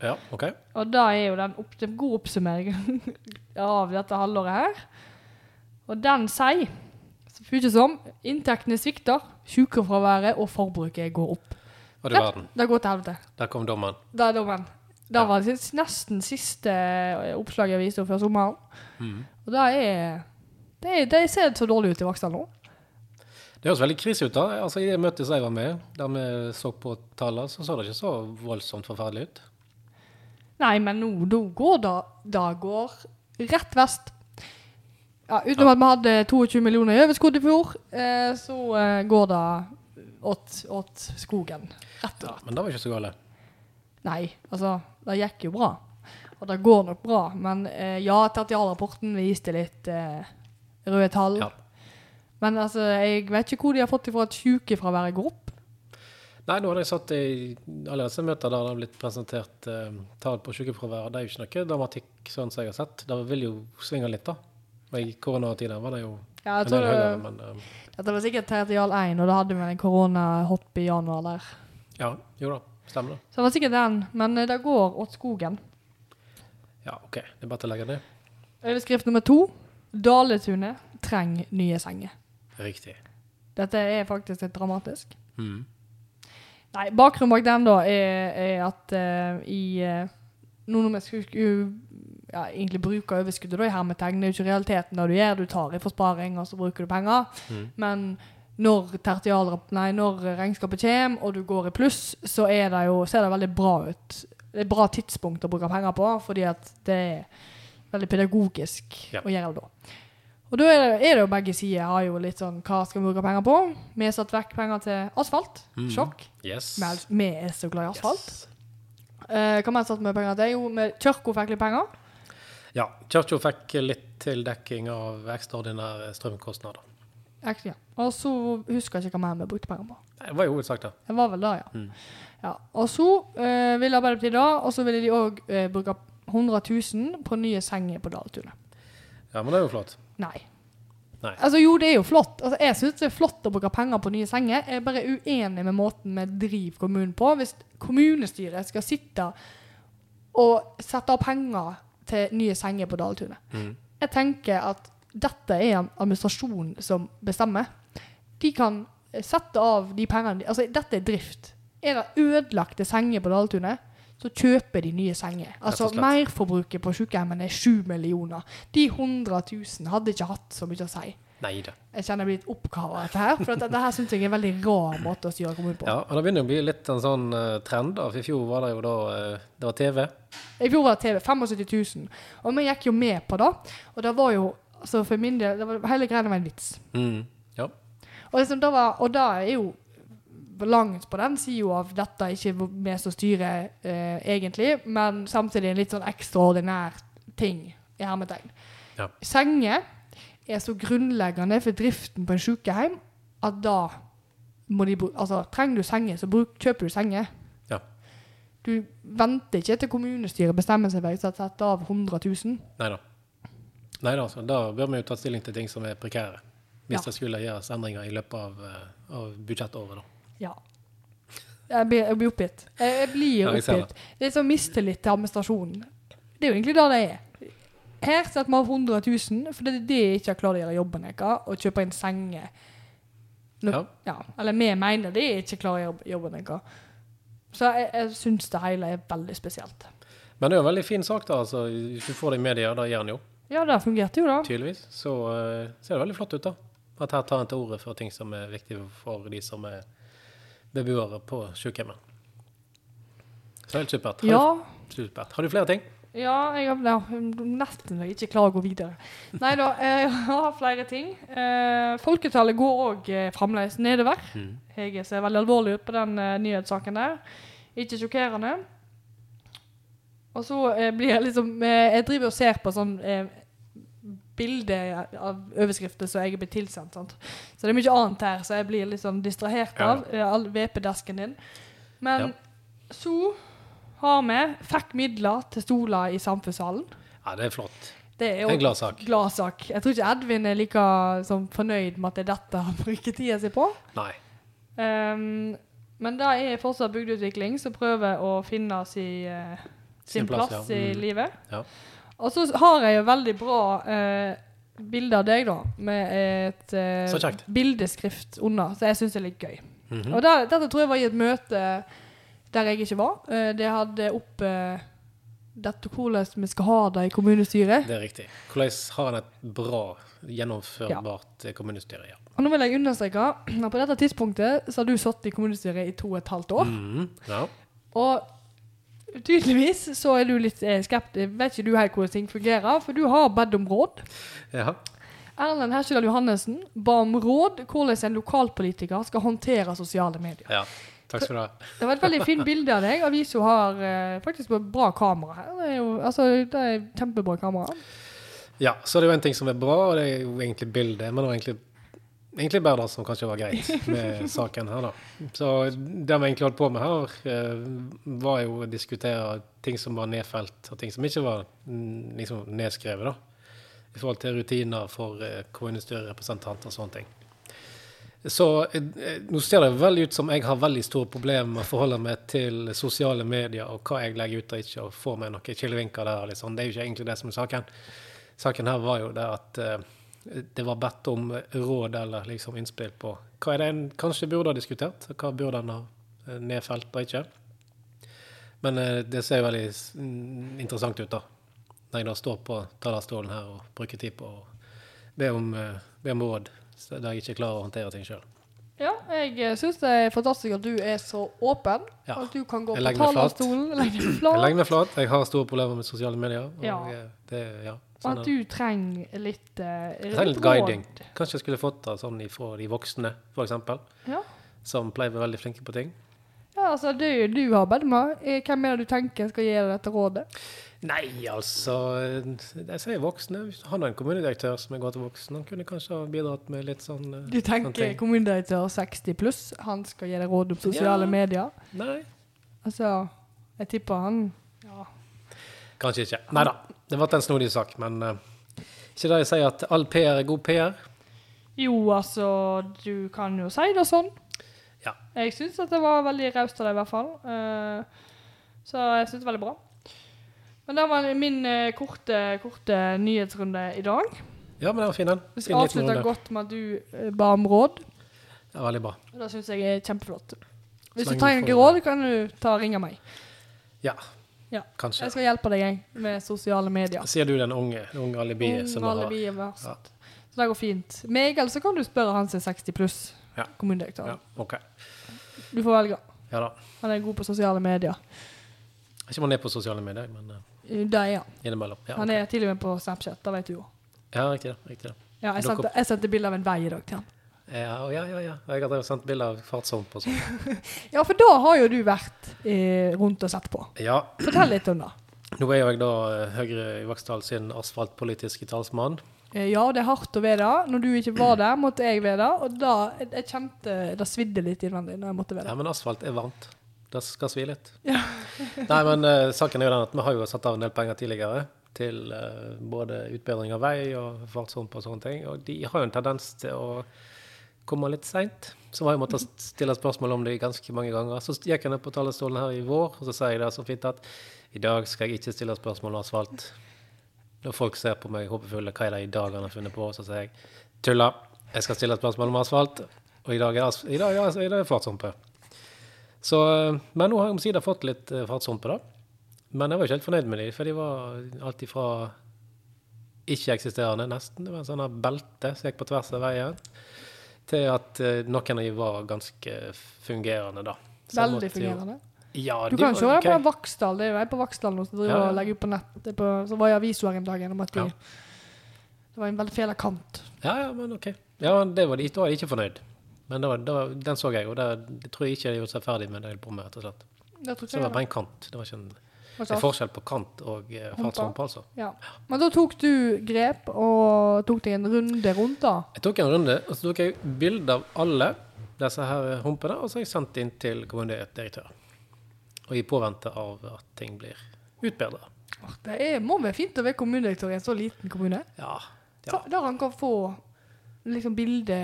A: Ja, OK.
B: Og da er jo den opp, det er en god oppsummering [LAUGHS] av dette halvåret her. Og den sier, så mye som, inntektene svikter, sykefraværet og forbruket går opp.
A: Og du verden.
B: Det går til helvete.
A: Der kom dommen.
B: Det er dommen. Det
A: Ja.
B: var det siste- nesten siste eh, oppslaget jeg viste før sommeren.
A: Mhm.
B: Og det er... Det, det ser så dårlig ut i Vaksdal nå.
A: Det høres veldig krise ut, da. Altså, I det møtet som jeg var med, der vi så på tallene, så så det ikke så voldsomt forferdelig ut.
B: Nei, men nå, nå går det... Da går rett vest. Ja, utenom at vi hadde 22 millioner i overskudd i fjor, eh, så eh, går det åt, åt skogen. Rett og slett.
A: Men det var ikke så galt.
B: Nei, altså, det gikk jo bra. Og det går nok bra, men eh, ja, tertialrapporten viste litt eh, røde tall.
A: Ja.
B: Men altså, jeg vet ikke hvor de har fått ifra at sykefraværet går opp.
A: Nei, nå har jeg satt i alle disse møter der det har blitt presentert eh, tall på sykefraværet. Det er jo ikke noe dramatikk sånn som jeg har sett. Det vil jo svinge litt, da. Og I koronatida var det jo
B: Ja,
A: en
B: jeg
A: del
B: tror det,
A: høyere, men eh,
B: dette var sikkert tertial 1, og da hadde vi en koronahopp i januar der.
A: Ja, jo da. Stemmer det.
B: Så det var sikkert den, men eh, det går åt skogen.
A: Ja, OK. Det er bare til å legge ned.
B: Overskrift nummer to. Daletunet trenger nye senger.
A: Riktig.
B: Dette er faktisk litt dramatisk.
A: Mm.
B: Nei, bakgrunnen bak den da er, er at eh, i eh, Nå når vi skulle skulle- ja, egentlig bruke overskuddet da, i hermetegn, det er jo ikke realiteten det du gjør. Du tar i for sparing, og så bruker du penger.
A: Mhm.
B: Men når, tertialrap- nei, når regnskapet kommer, og du går i pluss, så er det jo, ser det veldig bra ut. Det er et bra tidspunkt å bruke penger på, fordi at det er veldig pedagogisk
A: Ja.
B: å gjøre det da. Og da er det, er det jo begge sider har jo litt sånn, hva skal vi bruke penger på? Vi har satt vekk penger til asfalt,
A: Mhm.
B: sjokk.
A: Yes.
B: Vi er- altså, Vi er så glad i asfalt.
A: Yes.
B: Eh, hva mer satt vi penger til? Jo, med Kirka fikk litt penger.
A: Ja. Kirka fikk litt tildekking av ekstraordinære strømkostnader.
B: Ek- Ja. Og så husker jeg ikke hva mer vi brukte penger på.
A: Det var jo hovedsak, da.
B: Det var vel det, ja.
A: Mm.
B: ja. Og så eh, ville Arbeiderpartiet da, og så ville de òg eh, bruke 100 000 på nye senger på Daletunet.
A: Ja, men det er jo flott.
B: Nei.
A: Nei.
B: Altså jo, det er jo flott. Altså, jeg syns det er flott å bruke penger på nye senger. Jeg er bare uenig med måten vi driver kommunen på. Hvis kommunestyret skal sitte og sette av penger til nye senger på Daletunet
A: Mhm.
B: Jeg tenker at dette er en administrasjon som bestemmer. De kan eh, sette av de pengene de Altså, dette er drift. Er det ødelagte senger på Daletunet, så kjøper de nye senger. Altså,
A: Rett og slett.
B: merforbruket på sykehjemmene er 7 millioner. De 100 000 hadde ikke hatt så mye å si.
A: Nei da.
B: Jeg kjenner jeg blir litt oppgave av dette her, for at dette her synes jeg er en veldig rar måte å styre kommunen på.
A: Ja, og Det begynner å bli litt en sånn eh, trend. da, for I fjor var det jo da eh, det var TV.
B: I fjor var det TV 75 000, og vi gikk jo med på det, og det var jo, altså for min del, det var, hele greia var en vits.
A: Mm. Ja.
B: Og, liksom, det var, og da er jo langt på den, sier jo av dette er ikke vi som styrer eh, egentlig, men samtidig en litt sånn ekstraordinær ting i hermetegn.
A: Ja.
B: Senger er så grunnleggende for driften på en sykehjem at da må de bruke, altså trenger du senger, så bruk, kjøper du senger.
A: Ja.
B: Du venter ikke til kommunestyret bestemmer seg for å sette av 100 000.
A: Nei da. Nei da, altså. Da bør vi jo ta stilling til ting som er prekære. Hvis
B: Ja.
A: det skulle gjøres endringer i løpet av, eh, av budsjettåret, da.
B: Ja. Jeg blir, jeg blir oppgitt. Jeg, jeg blir
A: Ja, jeg ser
B: oppgitt. Det er sånn mistillit til administrasjonen. Det er jo egentlig det det er. Her setter vi av 100 000, for det er det jeg ikke har klart å gjøre jobben deres, å kjøpe inn senger. Nå-
A: Ja.
B: Ja, eller vi mener det er ikke klart å gjøre jobben deres. Så jeg, jeg syns det hele er veldig spesielt.
A: Men det er jo en veldig fin sak, da. altså. Hvis du får det i media, da gjør den jo
B: Ja, det fungerte jo, da.
A: tydeligvis. Så eh, ser det veldig flott ut, da. At her tar en til orde for ting som er viktige for de som er beboere på sykehjemmet. Så helt supert. Har,
B: Ja,
A: du, supert. har du flere ting?
B: ja jeg har ja, nesten jeg ikke klarer å gå videre. Nei da, jeg har flere ting. Eh, Folketallet går òg fremdeles nedover.
A: Mm.
B: Jeg ser veldig alvorlig ut på den eh, nyhetssaken der. Ikke sjokkerende. Og så eh, blir jeg liksom eh, Jeg driver og ser på sånn eh, bilde av overskrifter som jeg er blitt tilsendt. Sant? Så det er mye annet her som jeg blir litt sånn distrahert
A: Ja.
B: av. eh, All VP-desken din. Men
A: Ja.
B: så har vi fikk midler til stoler i samfunnshallen.
A: Ja, det er flott.
B: Det er
A: Det
B: jo
A: er en glad sak.
B: gladsak. Jeg tror ikke Edvin er like sånn, fornøyd med at det er dette han bruker tida si på.
A: Nei.
B: Ehm, men det er fortsatt bygdeutvikling som prøver å finne si, eh, sin,
A: Sin
B: plass,
A: plass, ja.
B: i
A: Mm.
B: livet.
A: Ja.
B: Og så har jeg jo veldig bra eh, bilde av deg, da, med et eh,
A: Så kjekt.
B: bildeskrift under, så jeg syns det er litt gøy.
A: Mhm.
B: Og der, dette tror jeg var i et møte der jeg ikke var. Eh, det hadde opp eh, dette hvordan vi skal ha det i kommunestyret.
A: Det er riktig. Hvordan har en et bra, gjennomførbart eh, kommunestyre? Ja.
B: Og nå vil jeg understreke at på dette tidspunktet så har du sittet i kommunestyret i to og et halvt år.
A: Mhm. ja.
B: Og tydeligvis så er du litt eh, skeptisk. Vet ikke du helt hvordan ting fungerer, for du har bedt om råd.
A: ja.
B: Erlend Hesjedal Johannessen ba om råd hvordan en lokalpolitiker skal håndtere sosiale medier.
A: ja. Takk skal du ha.
B: Det var et veldig fint bilde av deg. Avisa har eh, faktisk et bra kamera her. Det er jo altså, det er et kjempebra kamera.
A: Ja, så det er jo en ting som er bra, og det er jo egentlig bildet, men det var egentlig, egentlig bare det som kanskje var greit med saken her, da. Så det vi egentlig holdt på med her, eh, var jo å diskutere ting som var nedfelt, og ting som ikke var mm, liksom, nedskrevet, da. I forhold til rutiner for eh, kommunestyrerepresentanter og sånne ting. Så eh, nå ser det veldig ut som jeg har veldig store problemer med å forholde meg til sosiale medier og hva jeg legger ut og ikke, og får meg noen kildevinker der. Liksom. Det er jo ikke egentlig det som er saken. Saken her var jo det at eh, det var bedt om råd eller liksom innspill på hva er det en kanskje burde ha diskutert, og hva burde en ha eh, nedfelt og ikke. Men eh, det ser jo veldig s- mm, interessant ut, da. Når jeg da står på talerstolen her og bruker tid på å be om, eh, be om råd så der jeg ikke klarer å håndtere ting sjøl.
B: Ja, jeg syns det er fantastisk at du er så åpen.
A: Ja.
B: At du kan gå
A: Jeg
B: på
A: legger meg flat.
B: talerstolen,
A: [CLEARS THROAT]
B: legge deg
A: Jeg
B: flat.
A: legger meg flat. Jeg har store problemer med sosiale medier. Og
B: Ja.
A: eh, det, ja,
B: Og
A: sånn
B: at
A: er det.
B: du trenger litt eh,
A: Jeg trenger litt
B: råd.
A: guiding. Kanskje jeg skulle fått det sånn ifra de voksne, f.eks.,
B: Ja.
A: som pleier å være veldig flinke på ting.
B: Ja, altså det er jo du har bedt meg. Eh, Hvem er det du tenker skal gi deg dette rådet?
A: Nei, altså Jeg sier voksne. Hvis Han er en kommunedirektør som er godt voksen. Han kunne kanskje ha bidratt med litt sånn eh,
B: Du tenker
A: sånne ting.
B: kommunedirektør 60 pluss, han skal gi deg råd om sosiale
A: Ja.
B: medier.
A: Nei,
B: Altså, jeg tipper han ja.
A: kanskje ikke. Nei da. Det ble en snodig sak, men eh, ikke det jeg sier at all PR er god PR.
B: Jo, altså, du kan jo si det sånn.
A: Ja.
B: Jeg syns at det var veldig raust av deg, i hvert fall. Eh, så jeg syns det var veldig bra. Men det var min eh, korte, korte nyhetsrunde i dag.
A: Ja, men den var fin, den.
B: Vi
A: Fin liten
B: avslutter
A: runde.
B: godt med at du eh, ba om råd.
A: Ja, veldig bra.
B: Og Det syns jeg er kjempeflott. Hvis
A: Så
B: du
A: lenge
B: trenger
A: du
B: ikke
A: får-
B: råd, kan du ta og ringe meg.
A: Ja,
B: Ja.
A: kanskje.
B: Jeg skal hjelpe deg, jeg, med sosiale medier.
A: Sier du den unge, unge alibiet som du har?
B: Alibi er verst. Så det går fint. Meg, eller så kan du spørre han som er 60 pluss,
A: Ja.
B: kommunedirektøren.
A: Ja, OK.
B: Du får velge.
A: Ja da.
B: Han er god på sosiale medier.
A: Jeg kommer ned på sosiale medier, men eh,
B: Det er han.
A: innimellom. Ja,
B: Han
A: ok.
B: er til og med på Snapchat, det vet du jo.
A: ja riktig det. Riktig det.
B: Ja, jeg
A: Dere-
B: sendte, jeg sendte bilde av en vei i dag til han.
A: Ja, og ja, ja. ja. Jeg har drevet og sendt bilder av fartshump og sånn.
B: Ja, for da har jo du vært eh, rundt og sett på.
A: Ja,
B: Fortell litt om det.
A: Nå er jo jeg da eh, Høyre i Vaksdal sin asfaltpolitiske talsmann.
B: Eh, Ja, det er hardt å være der. Når du ikke var der, måtte jeg være der. Og da jeg, jeg kjente Det svidde litt innvendig når jeg måtte være der.
A: Ja, men asfalt er varmt. Det skal svi litt.
B: Ja.
A: [LAUGHS] Nei, men eh, saken er jo den at vi har jo satt av en del penger tidligere til eh, både utbedring av vei og fartshump og sånne ting. Og de har jo en tendens til å komme litt seint. Så har jeg måttet stille spørsmål om det ganske mange ganger. Så gikk jeg ned på talerstolen her i vår, og så sier jeg det så fint at i dag skal jeg ikke stille spørsmål om asfalt. Når folk ser på meg håpefulle, hva er det i dag han har funnet på, så sier jeg tulla, jeg skal stille et spørsmål om asfalt, og i dag er det, as- i dag, er det- i dag er det fartshumpe. Så, eh, men nå har jeg omsider fått litt eh, fartshumpe, da. Men jeg var ikke helt fornøyd med dem, for de var alt ifra ikke-eksisterende, nesten. Det var en sånn her belte som gikk på tvers av veien, til at eh, noen av de var ganske fungerende, da. Så jeg måtte
B: Veldig
A: jo-
B: fungerende.
A: Ja,
B: Du
A: de
B: kan
A: var
B: se det på
A: ok.
B: den Vaksdal. Det er jo en på Vaksdal nå som driver
A: Ja, ja.
B: og legger ut på nett. Det er på, så var jeg i avisa her om dagen om at de,
A: Ja.
B: det var en veldig feil kant.
A: Ja, ja, men ok. Ja, det var de, da var de ikke fornøyd. Men det var, det var, den så jeg, og det, det tror jeg ikke de har gjort seg ferdig med det de holdt på med, rett og slett.
B: Det tror
A: Så
B: ikke
A: det
B: jeg
A: var
B: da.
A: bare en kant. Det var ikke en, det
B: Altså,
A: er forskjell på kant og eh, fast
B: Humpa.
A: humpe, altså.
B: ja. Men da tok du grep og tok deg en runde rundt, da.
A: Jeg tok en runde, og så tok jeg bilde av alle disse her humpene, og så har jeg sendt inn til kommunedirektør. Og i påvente av at ting blir utbedret.
B: Åh, Det er, må være fint å være kommunedirektør i en så liten kommune.
A: Ja.
B: Så,
A: ja.
B: der han kan få liksom bilde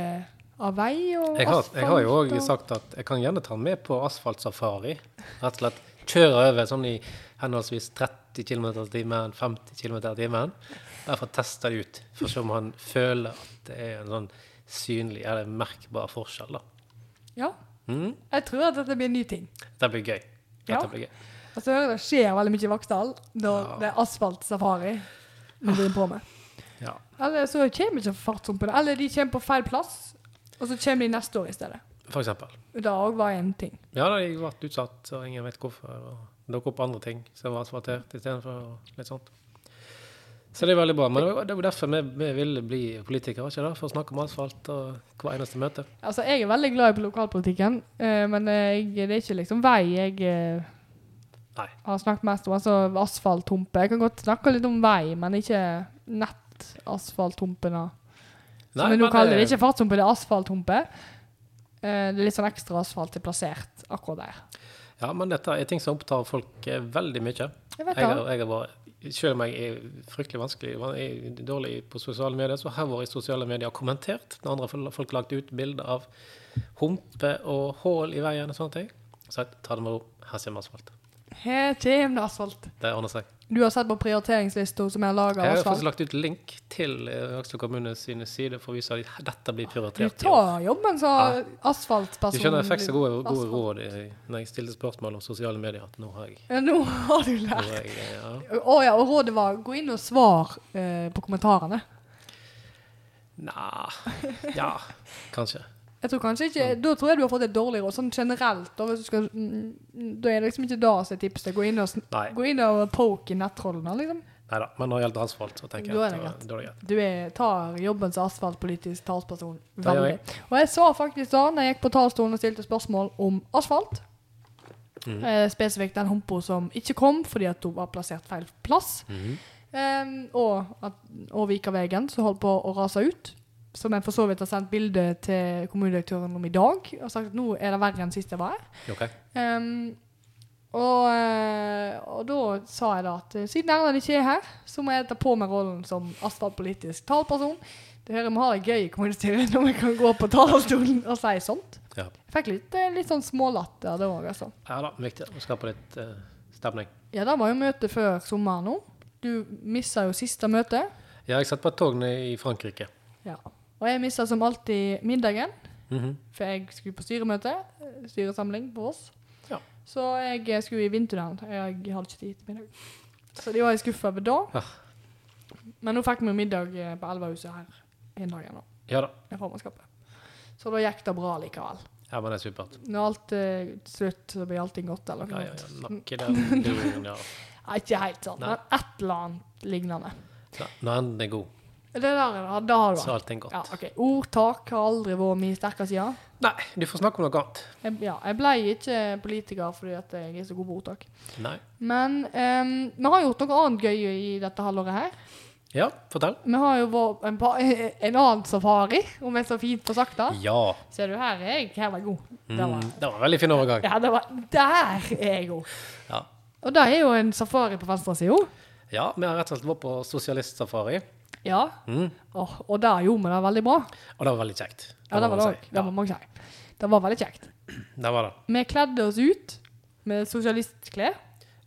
B: av vei og
A: Jeg har, jeg har jo
B: asfalt
A: òg
B: og-
A: sagt at jeg kan gjerne ta den med på asfaltsafari. Rett og slett kjøre over sånn i henholdsvis 30 km i timen, 50 km i timen. Bare for å teste det ut. For å se om han føler at det er en sånn synlig eller merkbar forskjell, da.
B: Ja.
A: Mm.
B: Jeg tror at dette blir en ny ting.
A: Dette blir gøy. Dette
B: Ja.
A: blir gøy.
B: Og så hører jeg det skjer veldig mye i Vaksdal når det er asfaltsafari vi driver på med.
A: Ja.
B: Eller så kommer ikke fartshumpene. Eller de kommer på feil plass, og så kommer de neste år i stedet.
A: For eksempel.
B: Det òg var en ting.
A: Ja, da har jeg vært utsatt, og ingen vet hvorfor. Og dukket opp andre ting som var asfaltert istedenfor, og litt sånt. Så det er veldig bra. Men det var- det var derfor vi, vi ville bli politikere, ikke da? For å snakke om asfalt og hver eneste møte.
B: Altså, jeg er veldig glad i lokalpolitikken, eh, men eh, jeg, det er ikke liksom vei jeg eh,
A: Nei.
B: har snakket mest om. Altså asfalthumpe. Jeg kan godt snakke litt om vei, men ikke nettasfalthumpene. Som vi
A: men
B: nå
A: eh,
B: kaller det. Det er ikke fartshumpe, det er asfalthumpe. Eh, Det er litt sånn ekstra asfalt er plassert akkurat der.
A: Ja, men dette er ting som opptar folk eh, veldig mye.
B: Jeg vet
A: Jeg har,
B: det.
A: jeg har bare, selv om jeg er fryktelig vanskelig, jeg er dårlig på sosiale medier, så har jeg vært i sosiale medier og kommentert. Når andre fol- folk lagt ut bilder av humpe og hål i veien og sånne ting. Så jeg ta det med ro. Her kommer asfalt.
B: Her kommer det asfalt.
A: Det ordner seg.
B: Du har sett på prioriteringslista som er laga
A: Jeg har
B: av asfalt.
A: faktisk lagt ut link til eh, Aksel kommune sine sider for å vise at dette blir
B: Du
A: prioritert. i år.
B: tar jobben som
A: Ja. Du
B: asfaltperson.
A: skjønner, jeg fikk så gode, gode
B: Asfalt.
A: råd i- når jeg stilte spørsmål om sosiale medier, at nå har jeg,
B: Ja, nå har du
A: nå
B: lært.
A: har jeg eh, ja.
B: Å ja, og rådet var gå inn og svar eh, på kommentarene.
A: Nja
B: [LAUGHS]
A: Ja, kanskje.
B: Jeg tror kanskje ikke,
A: Mm.
B: Da tror jeg du har fått et dårlig råd, sånn generelt. Da, hvis du skal, mm, da er det liksom ikke da som er tipset. Gå inn og, sn-
A: Nei.
B: gå inn og poke i nettrollene, liksom.
A: Neida, Men når det gjelder asfalt, så tenker
B: Da
A: jeg
B: er det
A: at da- da er det greit.
B: Du er, tar jobben som asfaltpolitisk talsperson.
A: Det gjør jeg.
B: Veldig. Og jeg sa faktisk da når jeg gikk på talerstolen og stilte spørsmål om asfalt,
A: Mm.
B: eh, spesifikt den humpa som ikke kom fordi at hun var plassert feil plass, eh, og, at, og Vikavegen som holdt på å rase ut, som jeg for så vidt har sendt bilde til kommunedirektøren om i dag, og sagt at nå er det verre enn sist jeg var her.
A: Ok.
B: Ehm, og, eh, og da sa jeg da at eh, siden Erlend ikke er her, så må jeg ta på meg rollen som asfaltpolitisk talperson. Det hører vi har det gøy i kommunestyret når vi kan gå på talerstolen og si sånt.
A: Ja.
B: Jeg fikk litt, eh, litt sånn smålatter da òg, altså.
A: ja da, viktig å skape litt eh, stemning.
B: Ja, det var jo møte før sommeren nå. Du missa jo siste møte.
A: Ja, jeg satt på et tog ned i Frankrike.
B: Ja. Og jeg missa som alltid middagen.
A: Mhm.
B: For jeg skulle på styremøte, styresamling på Voss.
A: Ja.
B: Så jeg skulle i vindtunnelen. Jeg hadde ikke tid til middag. Så de var jeg skuffa over da.
A: Ja.
B: Men nå fikk vi jo middag eh, på Elvehuset her en dag igjen, nå,
A: Ja da.
B: i formannskapet. Så da gikk det bra likevel.
A: Ja, men det er supert.
B: Når alt er slutt, så blir allting godt, eller
A: Ja,
B: noe
A: ja, ja.
B: sånt.
A: Nok i
B: [LAUGHS]
A: den duren, ja.
B: Nei, Ikke helt sånn,
A: Nei.
B: men et eller annet lignende.
A: Ja, Når enden er god,
B: Det der ja, da har du
A: så er
B: vært.
A: allting godt.
B: Ja, ok. Ordtak har aldri vært min sterke side.
A: Nei, du får snakke om noe annet.
B: Jeg, ja, jeg ble ikke politiker fordi at jeg er så god på ordtak.
A: Nei.
B: Men ehm, vi har gjort noe annet gøy i dette halvåret her.
A: Ja, fortell.
B: Vi har jo vært en, pa- [LAUGHS] en annen safari, om jeg så fint får sagt det.
A: Ja.
B: Mm. Ser du, her er jeg. Her var jeg god. Der
A: Mm,
B: var,
A: det var en veldig fin overgang.
B: ja, det var, der er jeg god.
A: Ja.
B: Og det er jo en safari på venstresida.
A: ja, vi har rett og slett vært på sosialistsafari,
B: Ja.
A: Mm.
B: Åh, og der gjorde vi det veldig bra.
A: og det var veldig kjekt.
B: Ja, det var det
A: må man
B: òg.
A: si.
B: Det må man si. Det var veldig kjekt.
A: Ja, det var det.
B: Vi kledde oss ut med sosialistklær.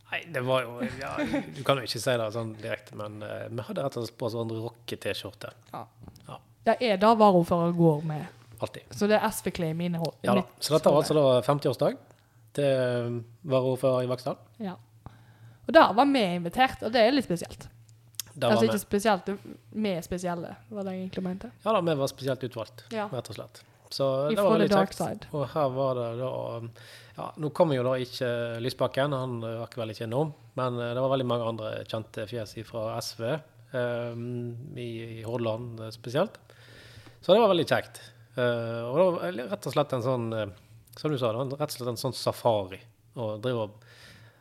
A: Nei, det var jo ja, Du kan jo ikke si det sånn direkte, men eh, vi hadde rett og slett på oss sånn rocke-T-skjorte.
B: Det er det varaordfører går med.
A: Alltid.
B: Så det er SV-klær i mine hår.
A: Ja da.
B: mitt
A: Så dette var
B: hår.
A: altså da 50-årsdag til eh, varaordfører i Vaksdal.
B: Ja. Og der var vi invitert, og det er litt spesielt.
A: Der
B: altså
A: var
B: ikke
A: vi.
B: spesielt, vi er spesielle, var det jeg egentlig mente.
A: Ja da, vi var spesielt utvalgt,
B: Ja.
A: rett og slett. Så det
B: Ifra
A: var
B: the
A: veldig
B: dark
A: kjekt.
B: side.
A: Og her var det da um, Ja, nå kommer jo da ikke Lysbakken, han rakk vel ikke innom. Men eh, det var veldig mange andre kjente fjes fra SV, eh, i, i Hordaland eh, spesielt. Så det var veldig kjekt. Eh, og det var vel rett og slett en sånn eh, Som du sa, det var en- rett og slett en sånn safari. Å drive og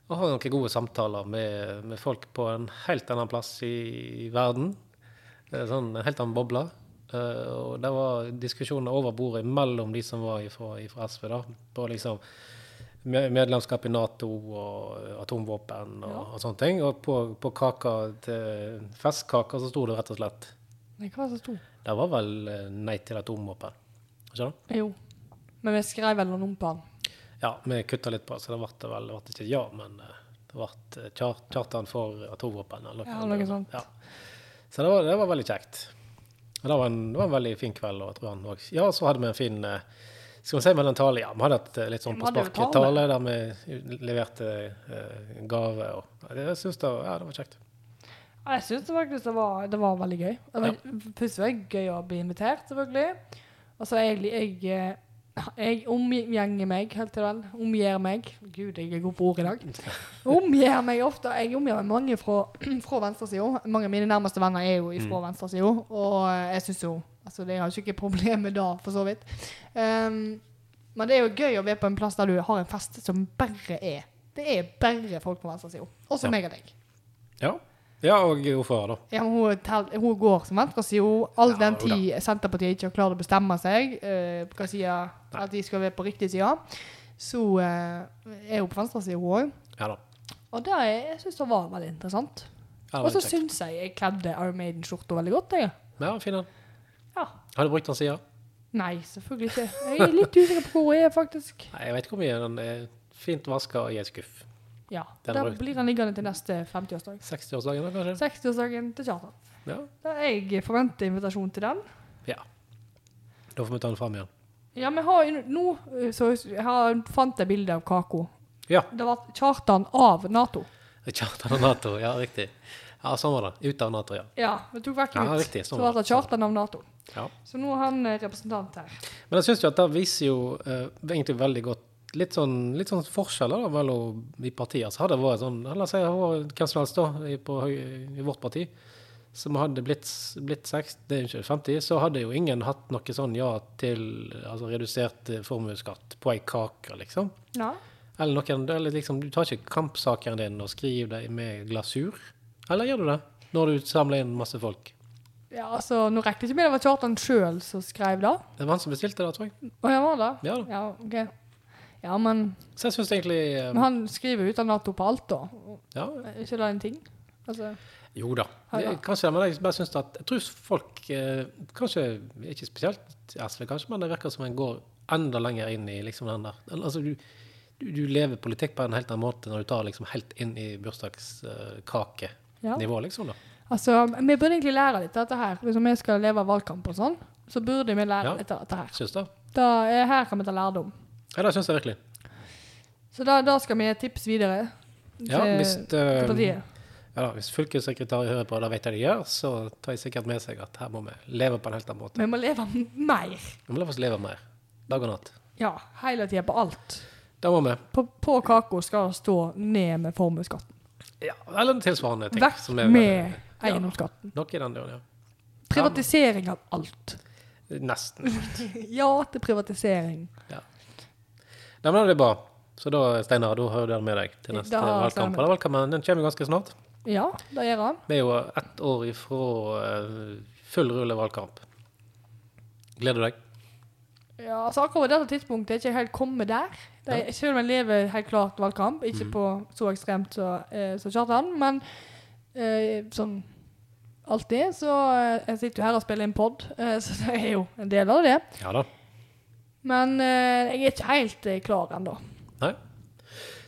A: og ha noen gode samtaler med, med folk på en helt annen plass i, i verden. Eh, Sånn, en helt annen boble. Eh, og det var diskusjoner over bordet mellom de som var ifra, ifra SV, da. På liksom me- medlemskap i Nato og atomvåpen og, og sånne ting. Og på, på kaka til festkaka så sto det rett og slett
B: Nei, hva var det som sto?
A: Det var vel eh, nei til atomvåpen. Skjønner du?
B: Jo. Men vi skrev vel noen om på den.
A: Ja, vi kutta litt på det, så det ble det vel det ble ikke et ja, men eh, det ble eh, kjar- kjartan for atomvåpen. Eller
B: Ja,
A: annet.
B: noe sånt.
A: Ja. Så det var, det var veldig kjekt. Og det var en, det var en veldig fin kveld. Og jeg tror han også. Ja, så hadde vi en fin eh, Skal vi si med den tale, ja. Vi hadde et eh, litt sånn
B: Vi
A: på
B: hadde jo
A: sparket
B: tale.
A: tale der vi leverte eh, gave og Nei, det- Jeg syns det, var- ja, det var kjekt.
B: Ja, Jeg syns faktisk det var, det var veldig gøy. Det var, Først var det gøy å bli invitert, selvfølgelig. Og så jeg, jeg, eh, jeg omgjenger meg helt til den. Omgjør meg. Gud, jeg er god på ord i dag. Omgjør meg ofte. Jeg omgjør meg mange fra, [CLEARS THROAT] fra venstresida. Mange av mine nærmeste venner er jo fra venstresida, og eh, jeg syns jo Altså, det har jo ikke problem med det, for så vidt. Ehm, men det er jo gøy å være på en plass der du har en fest som bare er Det er bare folk på venstresida. Også
A: Ja.
B: meg og deg.
A: Ja. ja og ordfører, da.
B: Ja, men hun, tel- hun går som venstresida. All
A: Ja,
B: den
A: jo da.
B: tid Senterpartiet ikke har klart å bestemme seg eh, hva sida at de skal være på riktig side, så eh, er hun på venstresida, hun òg.
A: Ja da.
B: Og det er, jeg syns det var veldig interessant.
A: Ja, det
B: Og
A: var
B: så
A: veldig kjekt.
B: syns jeg jeg kledde Iron Maiden-skjorta veldig godt. jeg.
A: Ja, fin den.
B: Ja.
A: Har du brukt den siden?
B: Nei, selvfølgelig ikke. Jeg er litt usikker på hvor hun er, faktisk.
A: Nei, jeg vet ikke hvor mye. Den er fint vaska og i en skuff.
B: Ja,
A: Den
B: Der
A: brukte-
B: blir den liggende til neste 50-årsdag.
A: 60-årsdagen, da, kanskje?
B: 60-årsdagen til Kjartan.
A: Ja.
B: Da jeg forventer invitasjon til den.
A: ja. Da får vi ta den fram igjen.
B: Ja, men har, jo- nå eh, så har, fant jeg bilde av Kako.
A: Ja.
B: Det var Kjartan av Nato.
A: Kjartan og Nato, ja, riktig. Ja, sånn var det. Ut av Nato, ja.
B: Ja, vi tok vekk ut.
A: Ja, riktig,
B: så
A: sånn
B: var
A: var
B: det Kjartan av Nato.
A: ja.
B: Så nå er han eh, representant her.
A: Men jeg syns jo at det viser jo eh, egentlig veldig godt litt sånn, litt sånn forskjeller da, mellom de partier. Så hadde det vært sånn La oss si det var hvem som helst da, i, på, Høy- i vårt parti som hadde blitt, blitt 60, det er jo ikke 50, så hadde jo ingen hatt noe sånn ja til altså redusert eh, formuesskatt på ei kake, liksom.
B: Ja.
A: Eller noen, eller liksom, du tar ikke kampsaken din og skriver det med glasur? Eller gjør du det? Når du samler inn masse folk?
B: ja, altså, nå rekte jeg ikke med det var Kjartan sjøl som skrev det.
A: Det var han som bestilte det, tror jeg.
B: Å, ja, var det?
A: Ja da.
B: Ja, ok. Ja, men,
A: Så jeg syns egentlig eh,
B: men han skriver jo ut av Nato på alt, da.
A: Ja.
B: Er ikke det en ting? Altså,
A: Jo da.
B: Ja,
A: Det,
B: da.
A: kanskje, men jeg bare syns at Jeg tror folk eh, Kanskje ikke spesielt SV, kanskje, men det virker som en går enda lenger inn i liksom den der Eller, Altså, du, du, du lever politikk på en helt annen måte når du tar liksom helt inn i
B: ja.
A: bursdagskakenivå, liksom. da.
B: altså, vi burde egentlig lære litt av dette her. Hvis vi skal leve av valgkamp og sånn, så burde vi lære
A: Ja.
B: litt av dette her.
A: Syns du?
B: Da, eh, her kan vi ta lærdom.
A: Ja, det syns jeg virkelig.
B: Så da, da skal vi gi tips videre
A: Ja,
B: til-
A: hvis,
B: til
A: eh,
B: partiet.
A: ja, da, hvis fylkessekretær hører på, og det vet jeg de gjør, så tar jeg sikkert med seg at her må vi leve på en helt annen måte.
B: Vi må leve m- mer.
A: Vi må la oss leve mer. Dag og natt.
B: Ja, hele tida på alt.
A: Det må vi.
B: På, på kaka skal det stå ned med formuesskatten.
A: Ja, eller tilsvarende ting.
B: Vekk
A: som er-
B: med eiendomsskatten.
A: Noe i den duren, ja.
B: Privatisering av alt.
A: Nesten.
B: Ja til privatisering.
A: Nei, men det er bra. Så da, Steinar, da har du det med deg til neste
B: Da har jeg det
A: valgkamp.
B: med.
A: Og den valgkampen den kommer jo ganske snart.
B: Ja, det gjør han.
A: Vi er jo ett år ifra eh, full rulle valgkamp. Gleder du deg?
B: Ja, altså akkurat på dette tidspunktet er jeg ikke helt kommet der. Det er, selv om jeg lever helt klart valgkamp, ikke på så ekstremt som eh, som Kjartan, men eh, sånn alltid, så eh, jeg sitter jo her og spiller inn pod, eh, [LAUGHS] så det er jo en del av det.
A: Ja da.
B: Men eh, jeg er ikke helt eh, klar ennå.
A: Nei.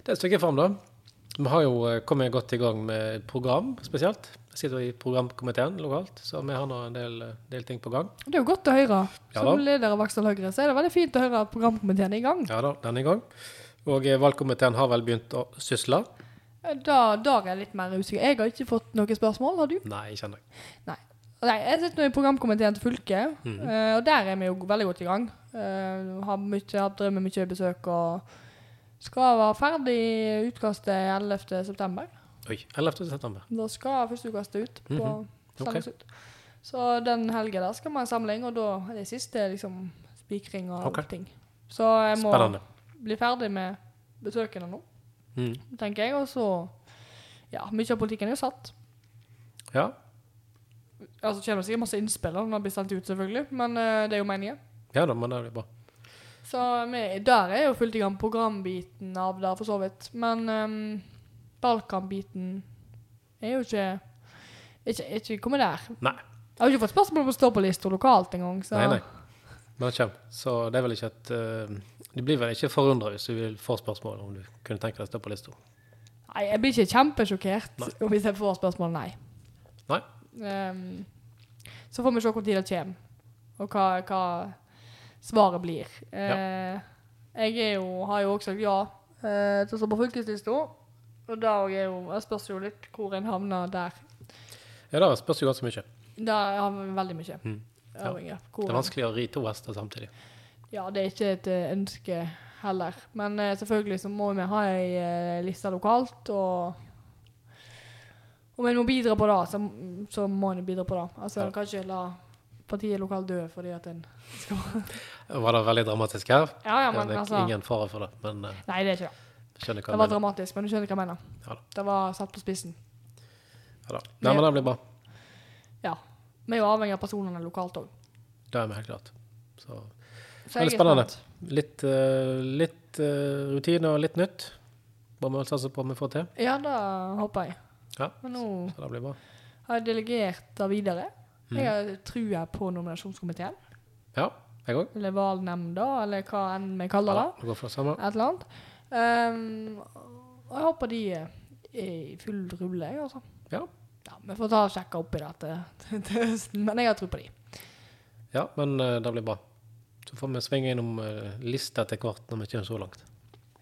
A: Det er et stykke fram, da. Vi har jo eh, kommet godt i gang med program, spesielt. Jeg sitter jo i programkomiteen lokalt, så vi har nå en del, eh, del ting på gang.
B: Det er jo godt å høre.
A: Ja
B: Som
A: da.
B: leder av Aksel Høyre så er det veldig fint å høre at programkomiteen er i gang.
A: Ja da, den er i gang. Og eh, valgkomiteen har vel begynt å sysle.
B: Eh, Da, der er jeg litt mer usikker. Jeg har ikke fått noen spørsmål, har du?
A: Nei, ikke ennå.
B: Nei, jeg sitter nå i programkomiteen til fylket,
A: Mhm.
B: eh, og der er vi jo veldig godt i gang. Eh, har mye, har drømmet mye besøk, og skal være ferdig utkastet 11. september.
A: Oi. 11. september.
B: Da skal første utkastet ut. på
A: Mhm. Ok.
B: sendes ut. Så den helgen der skal man ha en samling, og da er det siste liksom spikring og
A: Ok.
B: ting. Så jeg må
A: Spennende.
B: bli ferdig med besøkene nå,
A: Mm.
B: tenker jeg, og så Ja, mye av politikken er jo satt.
A: Ja.
B: Altså, kommer det sikkert masse innspill når det blir sendt ut, selvfølgelig, men eh, det er jo meningen.
A: ja da, men det blir bra.
B: Så vi, der er jo fullt i gang programbiten av det, for så vidt. Men ehm, Balkan-biten er jo ikke ikke, ikke kommet der.
A: Nei.
B: Jeg har jo ikke fått spørsmål om å stå på lista lokalt engang. Så.
A: Nei, nei. Men det kommer. Så det er vel ikke et eh, Du blir vel ikke forundra hvis du vil få spørsmål om du kunne tenke deg å stå på lista.
B: Nei, jeg blir ikke kjempesjokkert
A: Nei.
B: hvis jeg får spørsmål nei.
A: Nei.
B: Ehm, så får vi se hvor tid det kommer, og hva, hva svaret blir. Eh, Jeg er jo, har jo også sagt ja eh, til å stå på fylkeslista, og da er jo, jeg spørs jo litt hvor en havner der.
A: Ja, det spørs jo ganske mye.
B: Da har vi veldig mye.
A: Mm. Ja.
B: avhengig av hvor
A: Det er
B: en-
A: vanskelig å ri to hester samtidig.
B: Ja, det er ikke et eh, ønske heller. Men eh, selvfølgelig så må vi ha ei eh, liste lokalt, og om en må bidra på det, så, så må en bidra på det. Altså,
A: Ja.
B: En kan ikke la partiet lokalt dø fordi at en skal
A: Var det veldig dramatisk her?
B: Ja, ja,
A: Ja,
B: men
A: det er
B: altså
A: ingen fare for det, men eh,
B: Nei, det er ikke det.
A: skjønner hva
B: Det
A: du
B: var
A: mener.
B: dramatisk, men du skjønner hva jeg mener.
A: Ja da.
B: Det var satt på spissen.
A: Ja, da. Nei, men det blir bra.
B: Ja. Vi er jo avhengig av personene lokalt òg.
A: Det er vi helt klart. Så Veldig spennende. litt, eh, litt eh, rutine og litt nytt. Må vi vel satse på om vi får til.
B: Ja, det håper jeg.
A: Ja.
B: Men nå
A: Så det blir bra.
B: har jeg delegert det videre.
A: Mhm.
B: Jeg har trua på nominasjonskomiteen.
A: Ja, jeg òg.
B: eller valnemnda, eller hva enn vi
A: Ja,
B: kaller det.
A: da. det går for det samme.
B: Et eller annet. Ehm, og jeg håper de er i full rulle, jeg, altså.
A: Ja.
B: Ja, Vi får ta og sjekke opp i det til, til høsten, men jeg har tro på de.
A: Ja, men eh, det blir bra. Så får vi svinge innom eh, lista etter hvert når vi kommer så langt.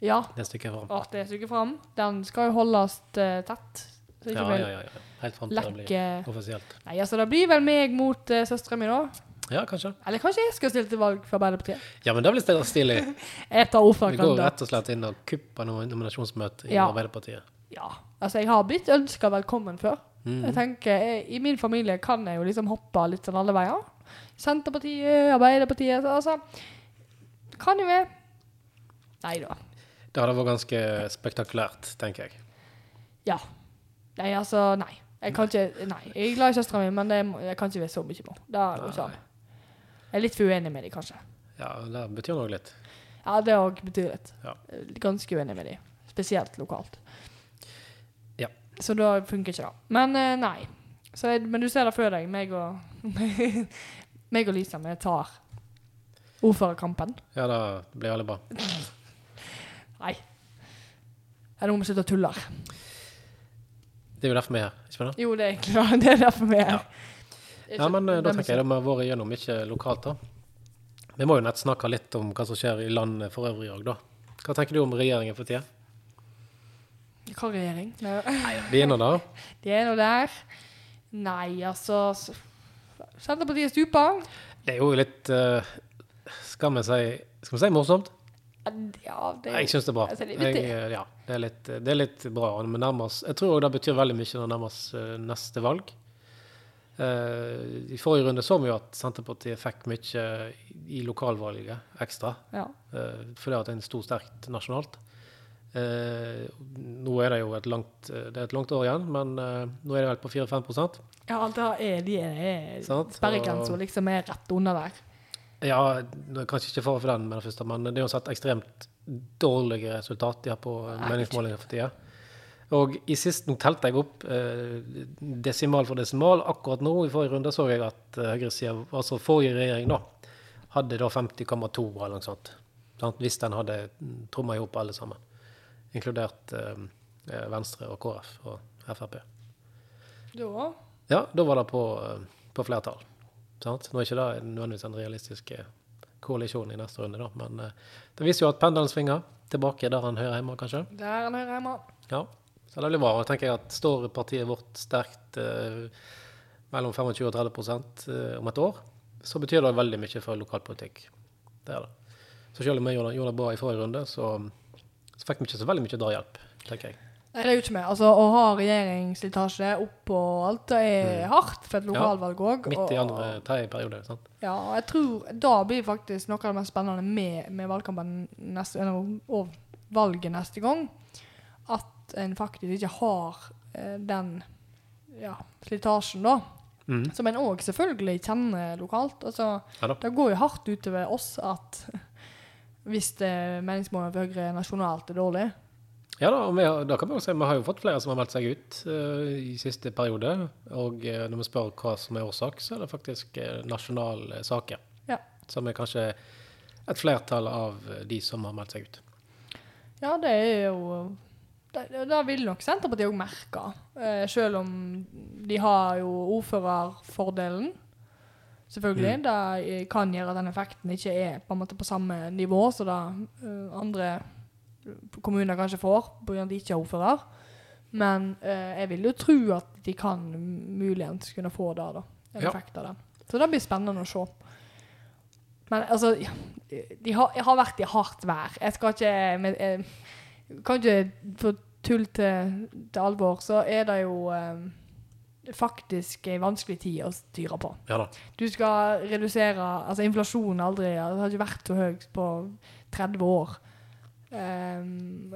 B: Ja.
A: Det stykket fram.
B: Å, det er stykket fram. Den skal jo holdes eh, tett. Så
A: Ja, ja,
B: ikke vi
A: ja, ja. Helt fram til det blir
B: lekker
A: offisielt.
B: Nei, altså, det blir vel meg mot uh, søstera mi, da.
A: Ja, kanskje.
B: Eller kanskje jeg skal stille til valg for Arbeiderpartiet?
A: Ja, men det blir stil- stilig.
B: [LAUGHS] Jeg tar
A: Vi går
B: ordførerkandidat.
A: rett og slett inn og kupper noe nominasjonsmøte i
B: Ja.
A: Arbeiderpartiet.
B: Ja. Mm. Altså, jeg har blitt ønska velkommen før. Jeg tenker, jeg, I min familie kan jeg jo liksom hoppe litt sånn alle veier. Senterpartiet, Arbeiderpartiet så- altså, Kan jo jeg. Nei da.
A: Det hadde vært ganske spektakulært, tenker jeg.
B: Ja. Nei, altså, nei. Jeg kan ikke, nei. Jeg er glad i søstera mi, men det, må- jeg kan ikke være så mye på. Da går ikke an. Jeg er litt for uenig med dem, kanskje.
A: Ja, det betyr noe litt.
B: Ja, det òg betyr litt.
A: Ja.
B: Ganske uenig med dem. Spesielt lokalt.
A: Ja.
B: Så da funker ikke det. Men eh, nei. Så jeg, men du ser det før deg. Meg og, [LAUGHS] meg og Lisa, vi tar ordførerkampen.
A: Ja, det blir veldig bra.
B: Nei. Er det noe vi slutter å tulle her?
A: Det er jo derfor vi er her. ikke sant?
B: Jo, det er egentlig det [LAUGHS] er derfor vi er her.
A: Ja, men eh, da tenker jeg da vi har vært igjennom mye lokalt, da. Vi må jo nett snakke litt om hva som skjer i landet for øvrig òg, da. Hva tenker du om regjeringen for tida?
B: Hva regjering? Nei,
A: Vi er inne der.
B: Det er noe der. Nei, altså s- Senterpartiet stuper.
A: Det er jo litt eh, Skal vi si Skal vi si morsomt?
B: Ja, det
A: Jeg syns det er bra.
B: Altså, det er litt-
A: Jeg, eh, ja, det, er litt, det er litt bra. og Vi nærmer oss Jeg tror òg det betyr veldig mye når vi nærmer oss eh, neste valg. Eh, I forrige runde så vi jo at Senterpartiet fikk mye i lokalvalget ekstra.
B: ja.
A: eh, fordi at en sto sterkt nasjonalt. Eh, nå er det jo et langt, eh, det er et langt år igjen, men eh, nå er det vel på 4-5
B: Ja, da er de er-
A: Sant,
B: Sperregrensa
A: og-
B: liksom er rett under der.
A: Ja, nå er jeg kanskje ikke fare for den med det første, men det er uansett ekstremt dårlige resultat de har på meningsmålinger for tida. Og i sist nå telte jeg opp eh, desimal for desimal. Akkurat nå i forrige runde så jeg at eh, høyresida, altså forrige regjering, da, hadde da 50,2 eller noe sånt. Sant? Hvis den hadde tromma i hop alle sammen. Inkludert eh, eh, Venstre og KrF og Frp.
B: Da
A: Ja, da var det på, eh, på flertall. Sant? Nå er ikke det nødvendigvis en realistisk eh, koalisjon i neste runde, da. Men eh, det viser jo at pendelen svinger tilbake der han hører hjemme, kanskje.
B: Der er han hører hjemme.
A: Ja. Så Så det blir bra. Og jeg tenker at står partiet vårt sterkt eh, mellom 25 og 30 prosent, eh, om et år, så betyr det veldig mye for lokalpolitikk. Det er det. Så selv om jeg gjorde, gjorde det bra i forrige runde, så, så fikk vi ikke så veldig mye drahjelp, tenker jeg.
B: Nei, det er jo ikke meg. Altså, å ha regjeringsslitasje opp og alt, det er hardt for et lokalvalg òg.
A: Mm. Midt i andre, tredje periode. Sant?
B: Ja, og jeg tror da blir faktisk noe av det mest spennende med, med valgkampen neste, eller, og valget neste gang, at en faktisk ikke har eh, den ja, slitasjen, da.
A: Mhm.
B: Som en òg selvfølgelig kjenner lokalt. Altså,
A: Ja da.
B: det går jo hardt utover oss at [LAUGHS] hvis eh, meningsmålene for Høyre nasjonalt er dårlig
A: Ja da, og vi har, da kan vi jo se, vi har jo fått flere som har meldt seg ut eh, i siste periode. Og eh, når vi spør hva som er årsak, så er det faktisk eh, nasjonale saker.
B: Ja.
A: Som er kanskje et flertall av eh, de som har meldt seg ut.
B: Ja, det er jo Da, da vil nok Senterpartiet òg merke, eh, selv om de har jo ordførerfordelen. Selvfølgelig. Det eh, kan gjøre at den effekten ikke er på, en måte på samme nivå som det eh, andre kommuner kanskje får pga. at de ikke har ordfører. Men eh, jeg vil jo tro at de kan muligens kunne få det, da. En
A: Ja.
B: effekt av det. Så det blir spennende å se. Men altså ja, de har, Jeg har vært i hardt vær. Jeg skal ikke men, eh, jeg, Kan ikke få tull til, til alvor, så er det jo eh, faktisk en vanskelig tid å styre på.
A: Ja da.
B: Du skal redusere Altså, inflasjonen aldri Det har ikke vært så høyt på 30 år. Um,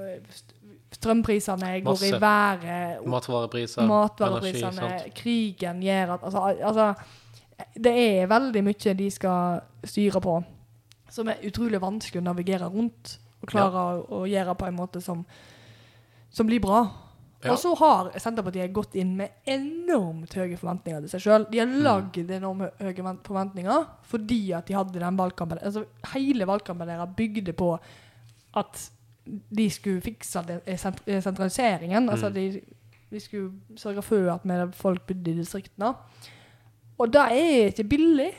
B: strømprisene går
A: Masse.
B: i været.
A: Matvarepriser,
B: Matvareprisene,
A: energi. sant?
B: krigen gjør at altså, al- altså, det er veldig mye de skal styre på, som er utrolig vanskelig å navigere rundt og klare å, å gjøre på en måte som, som blir bra.
A: Ja.
B: Og så har Senterpartiet gått inn med enormt høye forventninger til seg sjøl. De har
A: Mm.
B: lagd enormt høye vent- forventninger fordi at de hadde den valgkampen. Altså, hele valgkampen deres bygde på at de skulle fikse det, eh, sent- eh, sentraliseringen. Altså
A: Mm.
B: de, de skulle sørge for at mer folk bodde i distriktene. Og det er ikke billig.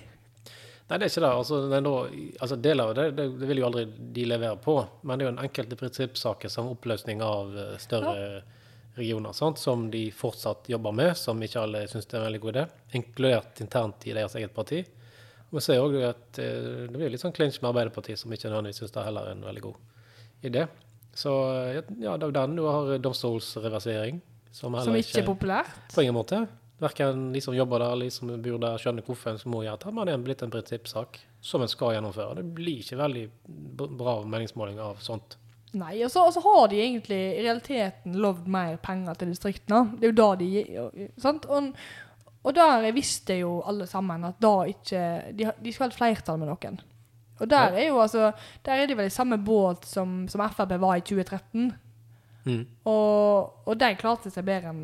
A: Nei, det er ikke det. Altså, det er nå, altså Deler av det, det, det vil jo aldri de levere på. Men det er jo en enkelte prinsippsaker som oppløsning av eh, større regioner, sant? som de fortsatt jobber med, som ikke alle syns er en veldig god idé. Inkludert internt i deres eget parti. Og vi ser jo også at eh, det blir litt sånn clinch med Arbeiderpartiet, som ikke nødvendigvis syns det er heller er en veldig god idé. Så eh, ja, det er jo den. Du har eh, domstolsreversering, som
B: Som
A: heller
B: ikke er populært.
A: på ingen måte. Verken de som jobber der, eller de som bor der, skjønner hvorfor en må gjøre det. Men det er blitt en prinsippsak som en skal gjennomføre. Det blir ikke veldig b- bra meningsmåling av sånt.
B: Nei, og så, og så har de egentlig i realiteten lovd mer penger til distriktene. Det er jo da de gir sant? Og, og der visste jo alle sammen at da ikke De, har- de skal ha et flertall med noen. Og der er jo altså Der er de vel i samme båt som, som Frp var i 2013.
A: Mm.
B: Og, og de klarte seg bedre enn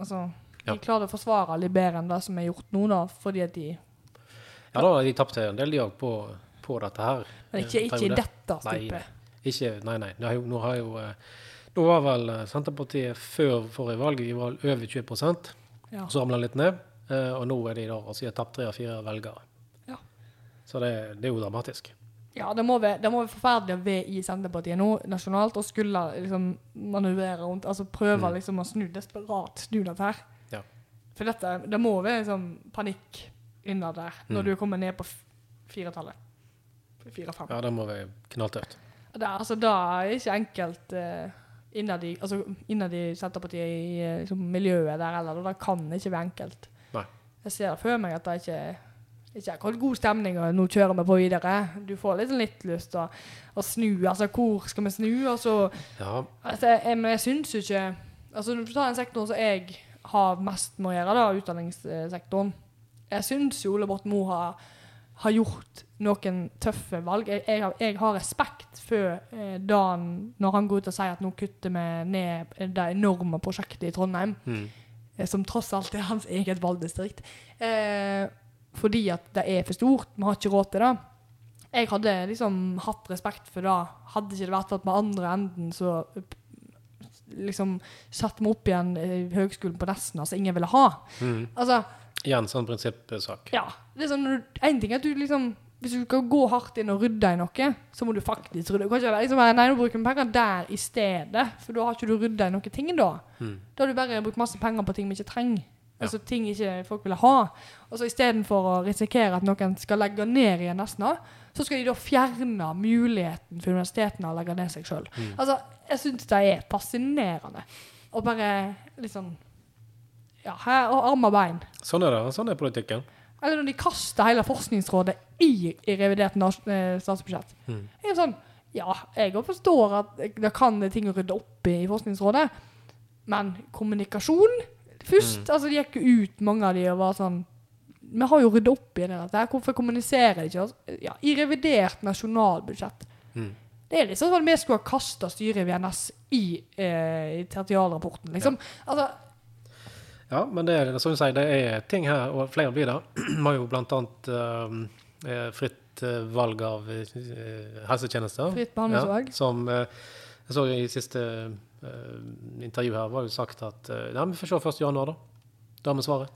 B: Altså, de
A: Ja.
B: klarte å forsvare litt bedre enn det som er gjort nå, da, fordi at de
A: Ja da, de tapte en del de òg på, på dette her.
B: Men ikke,
A: eh,
B: ikke i
A: periode.
B: dette
A: Nei,
B: stupet.
A: Ikke, nei, nei. Nå har jo, nå har jo eh, Nå var vel eh, Senterpartiet før forrige valg i valg over 20
B: Ja.
A: Så ramla det litt ned. eh, Og nå er de da altså de har tapt tre av fire velgere.
B: Ja.
A: Så det, det er jo dramatisk.
B: Ja, det må være, det må være forferdelig å være i Senterpartiet nå, nasjonalt, og skulle liksom manøvrere rundt, altså prøve
A: Mm.
B: liksom å snu, desperat snu dette her.
A: Ja.
B: For dette, det må være liksom panikk innad der, når
A: Mm.
B: du kommer ned på f- firetallet. Fire-fem.
A: Ja, det må være knalltøft.
B: Det, er- altså, det er ikke enkelt eh, innad i, altså, innad i Senterpartiet i eh, liksom, miljøet der heller, og det kan ikke være enkelt.
A: Nei.
B: Jeg ser det for meg at det ikke ikke akkurat god stemning, og nå kjører vi på videre. Du får liksom litt lyst til å, å snu. Altså, hvor skal vi snu? Og så
A: Ja,
B: Altså, jeg, men jeg syns jo ikke Altså, Når du tar en sektor som jeg har mest med å gjøre, da, utdanningssektoren Jeg syns jo Ole Borten Moe har, har gjort noen tøffe valg. Jeg, jeg, har, jeg har respekt for eh, Dan når han går ut og sier at nå kutter vi ned det enorme prosjektet i Trondheim,
A: Mm.
B: eh, som tross alt er hans eget valgdistrikt, eh, fordi at det er for stort. Vi har ikke råd til det jeg hadde liksom hatt respekt for det, hadde ikke det vært at med andre enden så eh, liksom satte meg opp igjen i høgskolen på Nesna som ingen ville ha.
A: Mm.
B: Altså,
A: Igjen sånn prinsippsak.
B: ja, det er sånn, når du- en ting er at du liksom Hvis du skal gå hardt inn og rydde i noe, så må du faktisk rydde. Du kan ikke liksom bare, nei, nå bruker vi penger der i stedet, for da har ikke du rydda i noen ting da.
A: Mm.
B: Da har du bare brukt masse penger på ting vi ikke trenger.
A: Ja.
B: Altså ting ikke folk vil ha. Og så istedenfor å risikere at noen skal legge ned igjen Nesna, så skal de da fjerne muligheten for universitetene å legge ned seg sjøl. Altså, jeg syns det er fascinerende. Og bare litt sånn Ja, her og arm og bein.
A: Sånn er det. og Sånn er politikken.
B: Eller når de kaster hele Forskningsrådet i, i revidert nas- eh, statsbudsjett.
A: Mm.
B: Jeg er sånn Ja, jeg også forstår at det kan det ting å rydde opp i i Forskningsrådet, men kommunikasjon først Altså, de gikk jo ut, mange av de, og var sånn Vi har jo rydda opp i det dette her, hvorfor kommuniserer de ikke? Altså, Ja, I revidert nasjonalbudsjett.
A: Mm.
B: Det er liksom sånn at vi skulle ha kasta styret i VNS i, eh, i tertialrapporten, liksom. Altså,
A: Ja, men det er som du sier, det er ting her, og flere blir det. [CLEARS THROAT] Vi har jo blant annet eh, fritt eh, valg av eh, helsetjenester.
B: fritt behandlingsvalg.
A: Ja, som eh, jeg så i siste eh, intervju her, var jo sagt at eh, nei, vi får se 1. januar, da. Da har vi svaret.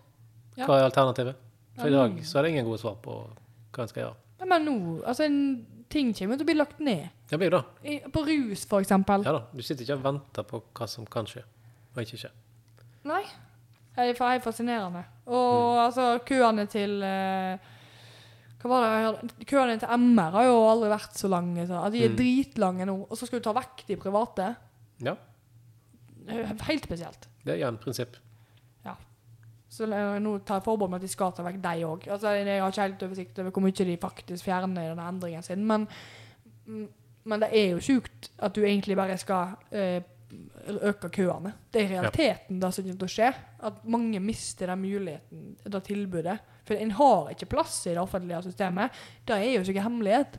B: Ja.
A: Hva er alternativet? For i
B: Ja,
A: dag så er det ingen gode svar på hva en skal gjøre.
B: Ja, men nå Altså, en ting kommer til å bli lagt ned.
A: Det blir jo det.
B: I, på rus, for eksempel.
A: Ja da. Du sitter ikke og venter på hva som kan skje, og ikke skje.
B: Nei. Det er helt fascinerende. Og
A: Mm.
B: altså, køene til eh, Hva var det jeg hørte? Køene til MR har jo aldri vært så lange. Så, at de er
A: Mm.
B: dritlange nå. Og så skal du ta vekk de private.
A: Ja,
B: Det er jo Helt spesielt.
A: det er igjen prinsipp.
B: Så eh, nå tar jeg forbehold med at de skal ta vekk deg òg. Altså, jeg har ikke helt oversikt over hvor mye de faktisk fjerner i denne endringen sin, men, mm, men det er jo sjukt at du egentlig bare skal eh, øke køene. Det er i realiteten det som kommer til å skje. At mange mister den muligheten, det tilbudet. For en har ikke plass i det offentlige systemet. Det er jo ikke noen hemmelighet.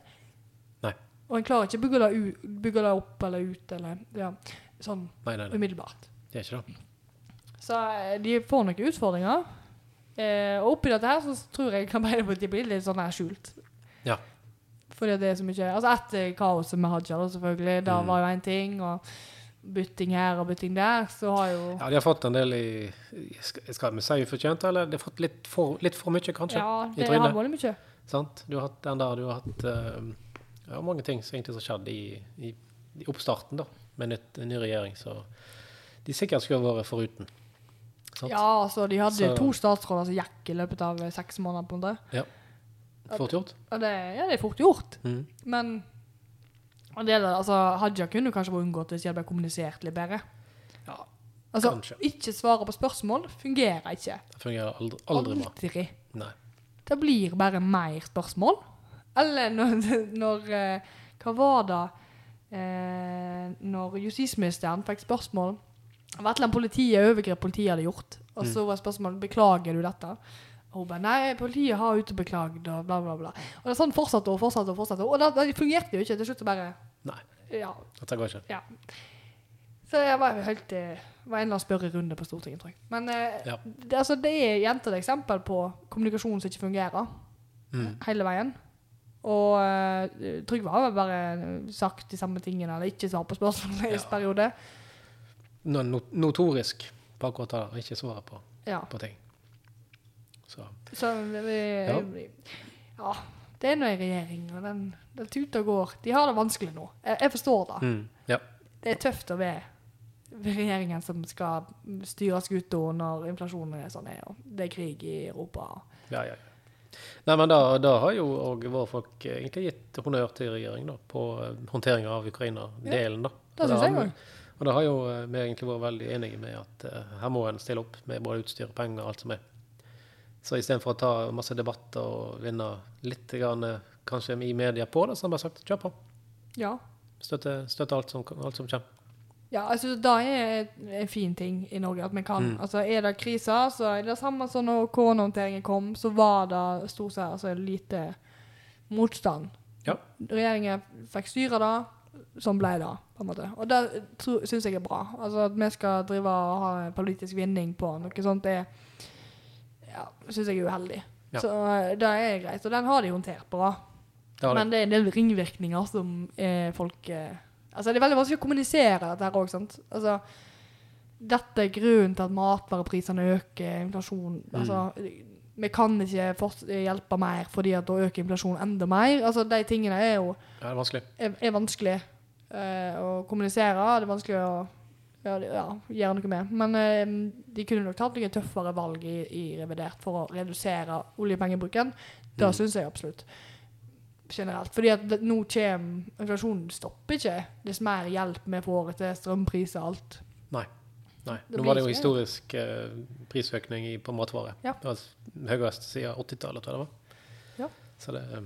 A: Nei.
B: Og en klarer ikke å bygge det, u- bygge det opp eller ut eller ja, sånn
A: Nei, nei, nei.
B: umiddelbart.
A: Det er ikke det.
B: Så eh, de får noen utfordringer. Eh, og oppi dette her så tror jeg Arbeiderpartiet blir litt sånn her skjult.
A: Ja.
B: Fordi det er så mye Altså etter kaoset med Haja, da, selvfølgelig. Da
A: Mm.
B: var jo én ting. Og bytting her og bytting der. Så har jo
A: Ja, de har fått en del i Skal skal vi si ufortjent, eller? De har fått litt for, litt for mye, kanskje.
B: Ja,
A: i
B: det
A: trynet.
B: har vært mye.
A: Sant? Du har hatt den der, du har hatt eh, ja, mange ting som egentlig som skjedde i, i, i oppstarten, da, med nytt, en ny regjering, så de sikkert skulle ha vært foruten. Sant?
B: Ja, altså de hadde
A: Så-
B: to statsråder som gikk i løpet av eh, seks måneder. på en måte.
A: Fort gjort.
B: Og det, ja, det er fort gjort.
A: Mm.
B: Men og det, er det, altså, Haja kunne kanskje vært unngått hvis de hadde blitt kommunisert litt bedre.
A: Ja,
B: Altså,
A: kanskje.
B: ikke svare på spørsmål fungerer ikke.
A: Det fungerer aldri, aldri bra.
B: Aldri.
A: Nei.
B: Det blir bare mer spørsmål. Eller når, [LAUGHS] når eh, Hva var det eh, Når justisministeren fikk spørsmål Det var et eller annet politiet overgrep politiet hadde gjort.
A: Mm.
B: Og så var spørsmålet beklager du dette. Og hun bare nei, politiet har ute beklagd og bla, bla, bla. Og det er sånn fortsatte og fortsatte og fortsatte. Og det, det fungerte jo ikke. Til slutt så bare
A: Nei,
B: Ja.
A: dette går ikke.
B: ja. Så jeg var jo helt eh, var en eller annen spørrerunde på Stortinget, tror jeg. Men eh,
A: Ja.
B: det, altså, det er gjentatt eksempel på kommunikasjon som ikke fungerer
A: Mm.
B: hele veien. Og eh, Trygve har vel bare sagt de samme tingene, eller ikke svart på spørsmål i
A: Ja.
B: en periode.
A: No, no, notorisk på akkurat det der, ikke svare på,
B: Ja.
A: på ting. Så
B: Så vi,
A: Ja.
B: vi, ja. Det er nå en regjering, og den, den tuter og går. De har det vanskelig nå. Jeg, jeg forstår det.
A: mm. Ja.
B: Det er tøft å være ved regjeringen som skal styre skuta når inflasjonen er sånn, er, og det er krig i Europa.
A: Ja, ja, ja. Nei, men da, da har jo òg våre folk eh, egentlig gitt honnør til regjeringen da, på håndteringa av Ukraina-delen. da.
B: Det
A: Og
B: syns jeg
A: har-
B: òg.
A: Og da har jo eh, vi egentlig vært veldig enige med at eh, her må en stille opp med både utstyr og penger og alt som er. Så istedenfor å ta masse debatter og vinne litt grann, eh, kanskje i media på det, så har vi bare sagt kjør på.
B: Ja.
A: Støtte, støtte alt, som, alt som kommer.
B: ja, altså det er en fin ting i Norge at vi kan.
A: Mm.
B: Altså er det kriser, så er det samme som når koronahåndteringen kom, så var det stort sett altså, lite motstand.
A: Ja.
B: Regjeringen fikk styre det, sånn ble det. på en måte. Og det tro- syns jeg er bra. Altså At vi skal drive og ha en politisk vinning på noe sånt, det ja, syns jeg er uheldig.
A: Ja.
B: Så eh, det er greit. Og den har de håndtert bra.
A: Det har de.
B: Men det er en del ringvirkninger som eh, folk eh, Altså, det er veldig vanskelig å kommunisere dette her òg, sant. Altså,
A: Mm.
B: dette er grunnen til at matvareprisene øker, inflasjon Altså, vi kan ikke forts- hjelpe mer fordi at da øker inflasjonen enda mer. Altså, de tingene er jo
A: Ja, det er vanskelig.
B: er, er vanskelig eh, å kommunisere. Det er vanskelig å ja, det- ja, gjøre noe med. Men eh, de kunne nok tatt noen tøffere valg i, i revidert for å redusere oljepengebruken. Det
A: Mm.
B: syns jeg absolutt. Generelt. Fordi at det, nå kommer Inflasjonen stopper ikke. Dess mer hjelp vi får til strømpriser og alt.
A: Nei.
B: Det
A: Nå
B: blir
A: var det jo
B: ikke-
A: historisk eh, prisøkning i, på matvarer.
B: Ja.
A: Det var s- høyest siden 80-tallet, tror jeg det var.
B: Ja.
A: Så det, eh,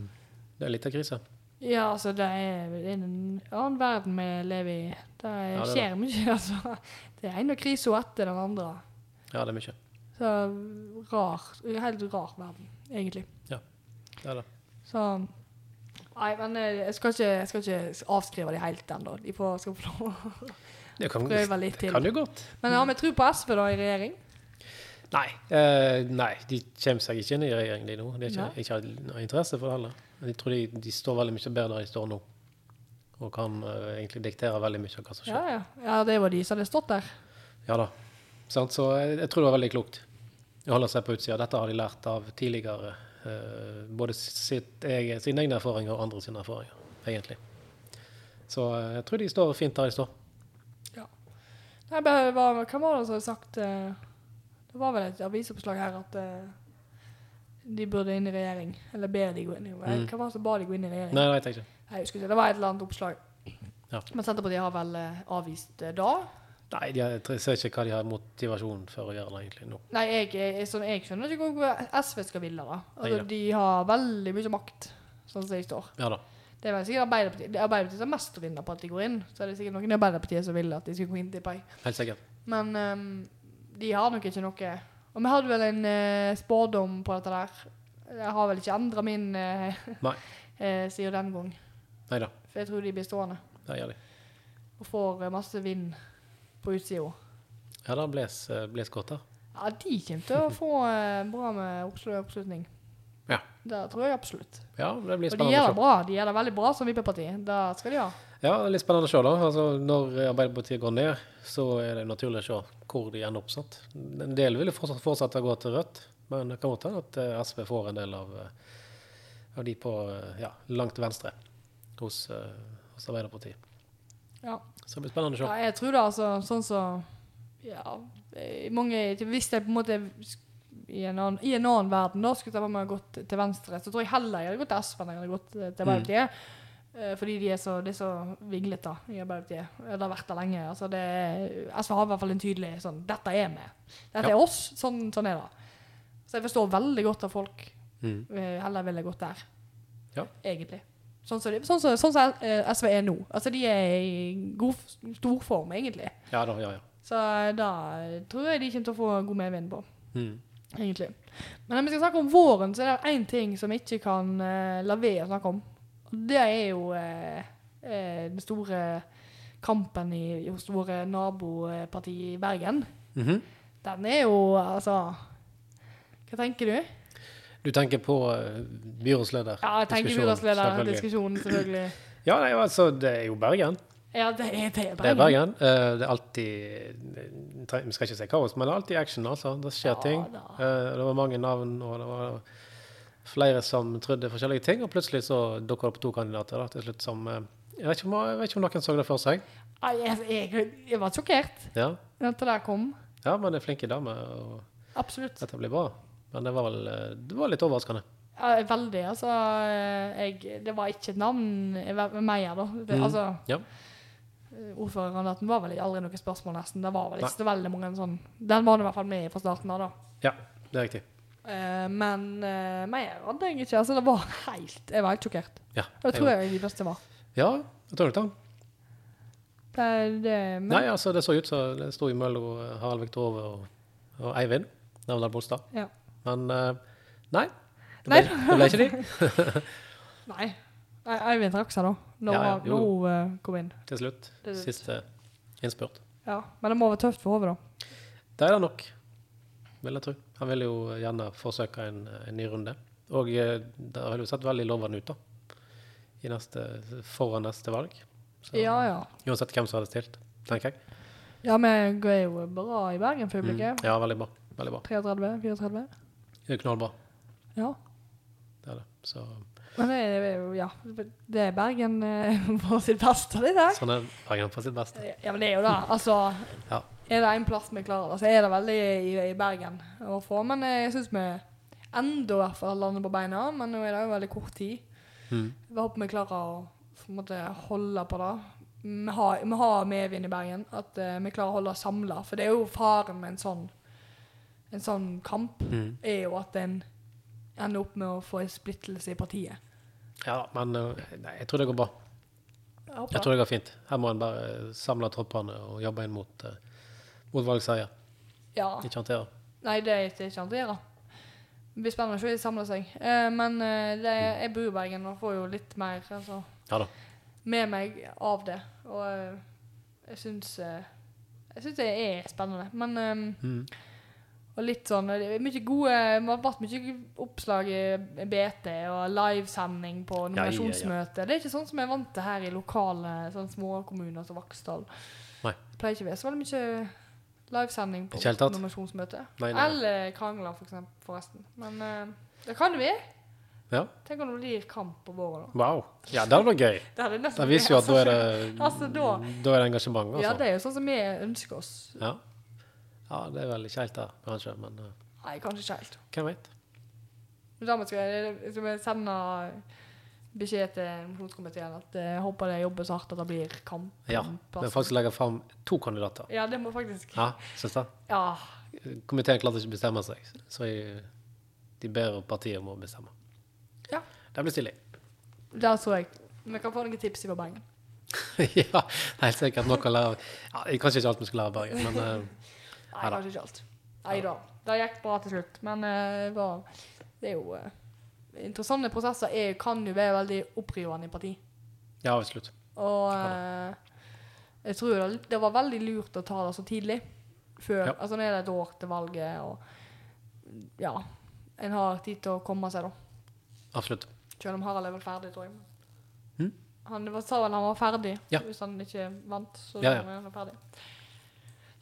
A: det er litt av krise.
B: Ja, altså, det er det er en annen verden vi lever i. Det
A: Ja, det er
B: skjer mye, [LAUGHS] altså. Det er ene krisa etter den andre.
A: Ja, det er mye.
B: Så rar, helt rar verden, egentlig.
A: Det er det.
B: Så Nei, men eh, jeg skal ikke, jeg skal ikke avskrive de helt ennå. De får, skal få lov å
A: Det kan,
B: prøve litt
A: det
B: til.
A: kan jo godt.
B: Men har vi tro på SV da i regjering?
A: Nei. eh, nei, de kommer seg ikke inn i regjering, de nå. De har
B: Nei.
A: ikke, ikke hatt noe interesse for det heller. Jeg tror de, de står veldig mye bedre der de står nå. Og kan eh, egentlig diktere veldig mye av hva som skjer.
B: Ja, ja. ja det var de som hadde stått der.
A: Ja da. Sant? Så jeg, jeg tror det var veldig klokt å holde seg på utsida. Dette har de lært av tidligere. eh, både sitt egen, sine egne erfaringer og andre sine erfaringer, egentlig. Så eh, jeg tror de står fint der de står.
B: Nei, bare, hva, hva var det som hadde sagt eh, Det var vel et avisoppslag her at eh, de burde inn i regjering. Eller ber de gå inn i regjering.
A: Mm.
B: Hva var det som ba de gå inn i regjering?
A: Nei, nei, jeg tenker ikke.
B: Jeg husker ikke. Det var et eller annet oppslag.
A: Ja.
B: Men Senterpartiet har vel eh, avvist det da.
A: Nei, de, har- jeg tror- jeg ser ikke hva de har motivasjon for å gjøre det egentlig nå.
B: Nei, jeg, jeg, jeg, sånn, jeg skjønner ikke hvor SV skal ville da.
A: Nei
B: Altså,
A: da.
B: de har veldig mye makt, sånn som jeg står.
A: Ja da.
B: Det er vel sikkert Arbeiderpartiet, det er Arbeiderpartiet som er mest å vinne på at de går inn. Så er det sikkert noen i Arbeiderpartiet som vil at de skal gå inn til Pai.
A: Helt sikkert.
B: Men ehm, de har nok ikke noe. Og vi hadde vel en eh, spådom på dette der. Jeg har vel ikke endret min eh,
A: Nei.
B: [LAUGHS] eh, siden den gang.
A: Nei da.
B: For jeg tror de blir stående
A: Det gjør de.
B: og får eh, masse vind på utsida.
A: Ja da, bles, eh, bles godt der.
B: Ja, de kommer til å få eh, bra med oppsl- oppslutning.
A: Ja.
B: Det tror jeg absolutt.
A: Ja, det blir
B: Og de gjør det
A: spennende å se.
B: bra. De gjør det veldig bra som vippeparti. Det skal de ha.
A: Ja, det er litt spennende å se da. Altså, når Arbeiderpartiet går ned, så er det naturlig å se hvor de ender opp. sant? En del vil jo fortsatt fortsette å gå til Rødt, men det kan godt hende at eh, SV får en del av, eh, av de på eh, ja, langt venstre hos, eh, hos Arbeiderpartiet.
B: Ja.
A: Så det blir spennende å
B: ja
A: se.
B: jeg tror det, altså. Sånn som Ja, eh, mange Hvis jeg på en måte sk- i en annen, i en annen verden da skulle jeg bare gått til venstre, så tror jeg heller jeg hadde gått til SV enn jeg hadde gått
A: Mm.
B: eh, til Arbeiderpartiet. Eh, Fordi de er så, de er så vinglete da, i Arbeiderpartiet. Eh, Det har vært der lenge. Altså det, er- SV har i hvert fall en tydelig sånn Dette er vi. Dette
A: Ja.
B: er oss. Sånn, sånn er det. Så jeg forstår veldig godt at folk
A: Mm.
B: Eh, Heller ville jeg gått der.
A: Ja.
B: Egentlig. Sånn som, de- sånn som, sånn som eh, SV er nå. Altså, de er i god f- stor form, egentlig.
A: Ja da, ja ja.
B: Så eh, da tror jeg de kommer til å få god medvind på,
A: Mm.
B: egentlig. Men når vi skal snakke om våren, så er det én ting som vi ikke kan eh, la være å snakke om. Og det er jo eh, eh, den store kampen i, hos våre naboparti i Bergen.
A: Mhm.
B: Den er jo, altså Hva tenker du?
A: Du tenker på eh, byrådsleder?
B: Ja, jeg tenker
A: Diskusjon, selvfølgelig.
B: byrådsleder-diskusjonen, selvfølgelig.
A: Ja, nei, altså, det er jo Bergen.
B: Ja, det er, det er
A: Det er Bergen.
B: Bergen.
A: Eh, Det er alltid tre- Vi skal ikke si kaos, men det er alltid action. altså. Det skjer
B: Ja,
A: ting.
B: da.
A: Eh, Det var mange navn, og det var flere som trodde forskjellige ting. Og plutselig så dukka det opp to kandidater da, til slutt som eh, jeg vet, ikke om, jeg vet ikke om noen så det for seg.
B: Nei, jeg, jeg, jeg var sjokkert
A: Ja,
B: da dette der kom.
A: ja men det er flinke damer, og
B: Absolutt.
A: dette blir bra. Men det var vel eh, det var litt overraskende.
B: Ja, veldig. Altså, jeg, det var ikke et navn jeg var med meg her, da. Det,
A: Mhm.
B: Altså,
A: Ja.
B: ordførerkandidaten var vel aldri noe spørsmål, nesten. Det var vel
A: Nei.
B: ikke så veldig mange sånn Den var nå i hvert fall med fra starten av, da.
A: Ja, det er riktig.
B: Eh, men uh, mer hadde jeg ikke. Altså, det var helt Jeg var helt sjokkert.
A: Ja,
B: Det tror jeg de beste var.
A: Ja, jeg tror nok det.
B: Det, det, men,
A: Nei, altså, det så ut som det sto i mellom eh, Harald Viktor Ove og, og Eivind Nevndal Bolstad.
B: Ja.
A: Men eh, nei. Det ble,
B: Nei.
A: det ble ikke de
B: [LAUGHS] nei. nei. Eivind trakk seg, da. Når
A: Ja, ja,
B: han-
A: jo.
B: når hun eh, kom inn.
A: til slutt.
B: Det-
A: Siste innspurt.
B: Ja. Men det må være tøft for hodet, da.
A: Det er det nok, vil jeg tro. Han vil jo gjerne forsøke en, en ny runde. Og eh, det har jo sett veldig lovende ut, da. I neste, foran neste valg. Så,
B: Ja, ja.
A: Uansett hvem som hadde stilt, tenker jeg.
B: Ja, vi går jo bra i Bergen for
A: Mm.
B: øyeblikket.
A: Ja, veldig bra. Veldig bra.
B: 33, 34.
A: Det er knallbra.
B: Ja.
A: Det er det. Så,
B: Men det er jo Ja. Det er Bergen eh, [LAUGHS] på sitt beste, det der.
A: sånn er Bergen på sitt beste.
B: Ja, men det er jo det. Altså
A: Ja.
B: Er det en plass vi klarer det, så er det veldig i, i Bergen å få. Men eh, jeg syns vi enda i hvert fall lander på beina. Men nå er det jo veldig kort tid.
A: Mm.
B: Jeg håper vi klarer å på en måte, holde på det. Vi har, vi har medvind i Bergen. At eh, vi klarer å holde oss samla. For det er jo faren med en sånn, en sånn kamp,
A: Mm.
B: er jo at en ender opp med å få en splittelse i partiet.
A: Ja, men eh, nei, jeg tror det går bra.
B: Jeg håper
A: Jeg tror det går fint. Her må en bare samle troppene og jobbe inn mot, eh, mot valgseier.
B: det. Ja.
A: Ikke håndtere.
B: Nei, det er ikke ikke sant å gjøre. Det blir spennende å se de samler seg. Eh, men eh, det, jeg bor i Bergen og får jo litt mer altså,
A: Ja da.
B: med meg av det. Og eh, jeg syns eh, Jeg syns det er spennende. Men eh,
A: Mm.
B: og litt sånn Det er mye gode Det har vært mye oppslag i BT og livesending på
A: Ja, ja, ja.
B: nominasjonsmøte. Det er ikke sånn som jeg er vant til her i lokale sånn småkommuner som Vaksdal.
A: Nei.
B: Det pleier ikke å være så veldig mye livesending på
A: Ikke helt tatt.
B: nominasjonsmøte.
A: Nei, nei, nei.
B: Eller krangler, for eksempel, forresten. Men eh, det kan det bli.
A: Ja.
B: Tenk om det blir kamp på våren. da.
A: Wow. Ja, det hadde vært gøy.
B: Det hadde nesten
A: Det viser jo at da er det,
B: Altså, da-
A: da er det engasjement.
B: Ja,
A: Altså.
B: det er jo sånn som vi ønsker oss.
A: Ja. ja, det er vel ikke helt der, kanskje. Men eh,
B: Nei, kanskje ikke helt.
A: hvem vet?
B: Men da må jeg, jeg skal bare sende beskjed til nominasjonskomiteen at eh, jeg håper det jobber så hardt at det blir kamp. om
A: Ja,
B: plassen.
A: Men faktisk legger fram to kandidater.
B: Mm, Ja, det må faktisk
A: Ja, syns det.
B: Ja.
A: Komiteen klarte ikke å bestemme seg, så jeg, de ber partiet om å bestemme.
B: Ja.
A: Det blir stilig. [LAUGHS]
B: Der så jeg. Vi kan få noen tips fra Bergen.
A: ja, det er helt sikkert nok å lære. Ja, det er kanskje ikke alt vi skal lære i Bergen, men eh,
B: Nei,
A: Ja da.
B: kanskje ikke alt. Nei da. Det gikk bra til slutt, men eh, det var, det er jo eh, Interessante prosesser er, kan jo være veldig opprivende i parti.
A: ja, absolutt.
B: Og eh, jeg tror det, det var veldig lurt å ta det så tidlig. Før,
A: Ja.
B: Altså nå er det et år til valget, og ja En har tid til å komme seg, da.
A: Absolutt.
B: Selv om Harald er vel ferdig, tror jeg.
A: Hm?
B: Han det var, sa vel han var ferdig
A: Ja.
B: hvis han ikke vant. Så,
A: Ja, ja.
B: var han ferdig.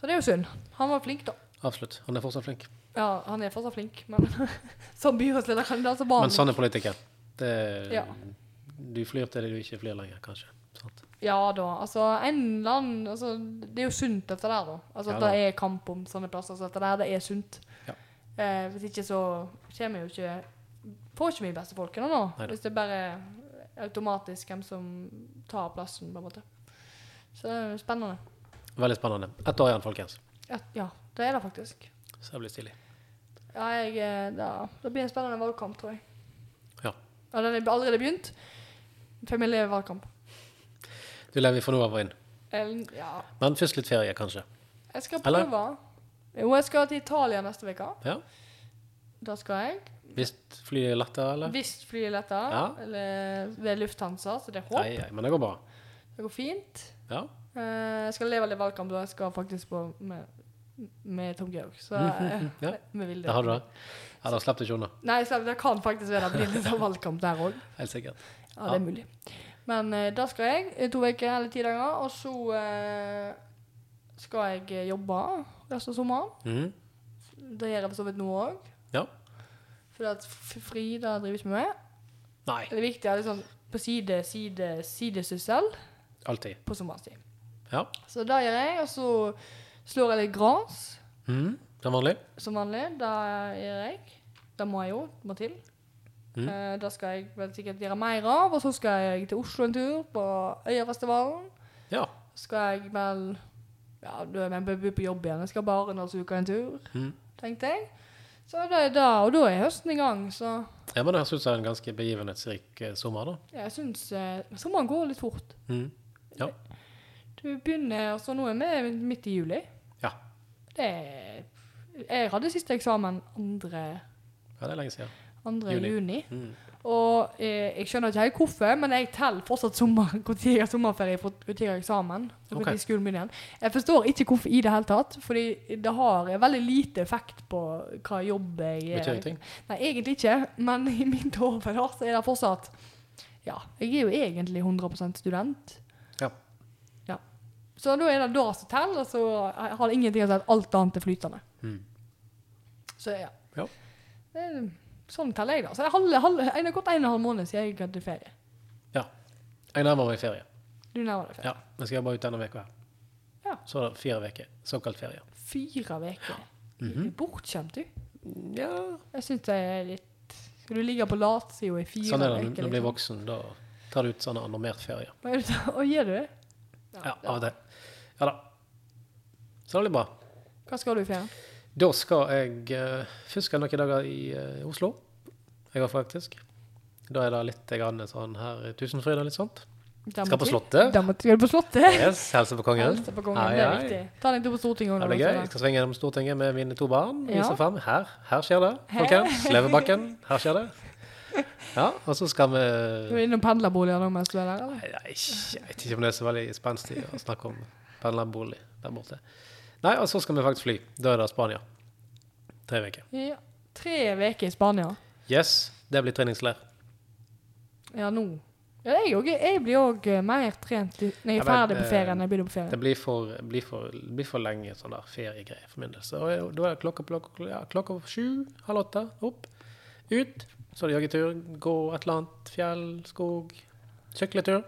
B: så det er jo synd. Han var flink, da.
A: Absolutt. Han er fortsatt flink.
B: Ja, han er fortsatt flink, men [LAUGHS] som byrådslederkandidat så var han
A: Men sånn er politikken. Det er,
B: Ja.
A: Du flyr til det du ikke flyr lenger, kanskje. Sant?
B: Ja da. Altså, en eller annen altså, Det er jo sunt, dette der, da. Altså,
A: Ja
B: at
A: da.
B: det er kamp om sånne plasser. Så dette der, det er sunt.
A: Ja.
B: Eh, hvis ikke så kommer jo ikke Får ikke vi bestefolkene nå,
A: Neida.
B: hvis det bare er automatisk hvem som tar plassen, på en måte. Så det er jo spennende.
A: Veldig spennende. Ett år igjen, folkens.
B: Ja, ja, det er det faktisk.
A: Så det blir stilig.
B: Ja, jeg, eh, da, det blir en spennende valgkamp, tror jeg.
A: Ja.
B: Ja, den er allerede begynt. Familievalgkamp.
A: Du lever fra nå av og inn.
B: Eh, Ja.
A: Men først litt ferie, kanskje.
B: Jeg skal
A: Eller?
B: prøve. Jo, jeg skal til Italia neste uke.
A: Ja.
B: Da skal jeg.
A: Hvis flyet er lettere, eller?
B: Hvis flyet letter,
A: Ja.
B: eller det er Lufthansa, så det er håp.
A: Nei, nei, men det går bra.
B: Det går fint.
A: Ja.
B: Eh, jeg skal leve litt valgkamp, da. Jeg skal faktisk på med, med Tom Georg. Så eh,
A: [LAUGHS] Ja.
B: vi vil det.
A: Der har du det. Ja, da slapp du ikke unna.
B: Nei, så det kan faktisk være det blir litt sånn valgkamp der òg.
A: Helt sikkert.
B: Ja, det er mulig. Men eh, da skal jeg i to uker eller ti dager, og så eh, skal jeg eh, jobbe resten av sommeren.
A: Mhm.
B: Det gjør jeg for så vidt nå òg.
A: Ja.
B: For at f- fri, det driver jeg ikke med.
A: Nei.
B: Det er viktig å ha litt sånn på side, side, sidesyssel
A: Alltid.
B: på sommerstid.
A: Ja.
B: Så det gjør jeg, og så slår jeg litt grans,
A: Mhm. Som vanlig.
B: som vanlig. Det gjør jeg. Det må jeg jo, må til.
A: Mhm.
B: Eh, det skal jeg vel sikkert gjøre mer av, og så skal jeg til Oslo en tur, på Øyafestivalen.
A: Ja.
B: Så skal jeg vel, ja, du er med på jobb igjen, jeg skal bare når uka en tur,
A: Mhm.
B: tenkte jeg. Så det er da, og da er høsten i gang, så
A: Ja, men det høres ut som en ganske begivenhetsrik eh, sommer, da.
B: jeg synes, eh, sommeren går litt fort.
A: Mhm.
B: Du begynner, altså nå er vi midt i juli.
A: Ja.
B: Det er, jeg hadde siste eksamen 2.
A: Ja, det er lenge siden.
B: 2.
A: Juni.
B: juni.
A: Mm.
B: Og eh, jeg skjønner ikke helt hvorfor, men jeg teller fortsatt sommer, [LAUGHS] hvor tid jeg har sommerferie for når jeg har eksamen. og hvor
A: Ok.
B: tid skolen begynner igjen. Jeg forstår ikke hvorfor i det hele tatt, fordi det har veldig lite effekt på hva jobb jeg eh,
A: Betyr ingenting.
B: Nei, egentlig ikke, men i min hode da, så er det fortsatt Ja, jeg er jo egentlig 100 student.
A: Ja.
B: ja. Så da er det da som teller, og så har det ingenting å si at alt annet er flytende.
A: Mm.
B: Så ja.
A: Ja.
B: Eh, Sånn teller jeg, da. Så det er halve- halve- en- godt en og en halv måned siden jeg hadde ferie.
A: Ja. Jeg nærmer meg ferie.
B: Du nærmer deg ferie.
A: Ja, men skal jeg bare ut denne uka her.
B: Ja.
A: Så er det fire uker. Såkalt ferie.
B: Fire uker.
A: Mhm.
B: Du er Bortskjemt, du.
A: Ja.
B: Jeg syns det er litt Skal du ligge på latsida i fire
A: Sånn er det når du-
B: uker,
A: når du blir
B: liksom?
A: voksen. Da tar du ut sånn normert ferie.
B: Hva er det da? Å, gjør du det?
A: Ja, av og til. Ja da. Så det blir bra.
B: Hva skal du i ferien?
A: Da skal jeg eh, Først skal jeg noen dager i eh, Oslo. Jeg har faktisk. Da er det litt grann sånn her Tusenfryd og litt
B: [LAUGHS]
A: sånt. Skal på Slottet.
B: Da må du skal du på Slottet.
A: Yes, helse på kongen.
B: Helse på kongen,
A: Ai,
B: det er
A: ai.
B: viktig. Ta deg en tur på Stortinget
A: Det
B: òg.
A: blir gøy. Jeg skal svinge gjennom Stortinget med mine to barn.
B: Ja.
A: Vise frem. Her her skjer det, folkens. Slevebakken. Her skjer det. Ja, og så skal vi
B: Du er innom pendlerboliger nå mens du er der, eller?
A: Nei, nei, Jeg vet ikke om det er så veldig spenstig å snakke om pendlerbolig der borte. Nei, og så skal vi faktisk fly. Da er det Spania. Tre uker.
B: Ja. Tre uker i Spania.
A: Yes, det blir treningsleir.
B: Ja, nå. Ja, jeg, òg- jeg blir òg mer trent i- når jeg
A: Ja,
B: er
A: men,
B: ferdig på ferie enn jeg begynner på ferie.
A: Det blir for, blir for, blir for lenge sånn der feriegreier for min del. Så eh, da er det klokka, klokka, ja, klokka sju, halv åtte, opp, ut. Så er det joggetur, gå et eller annet, fjell, skog, sykletur.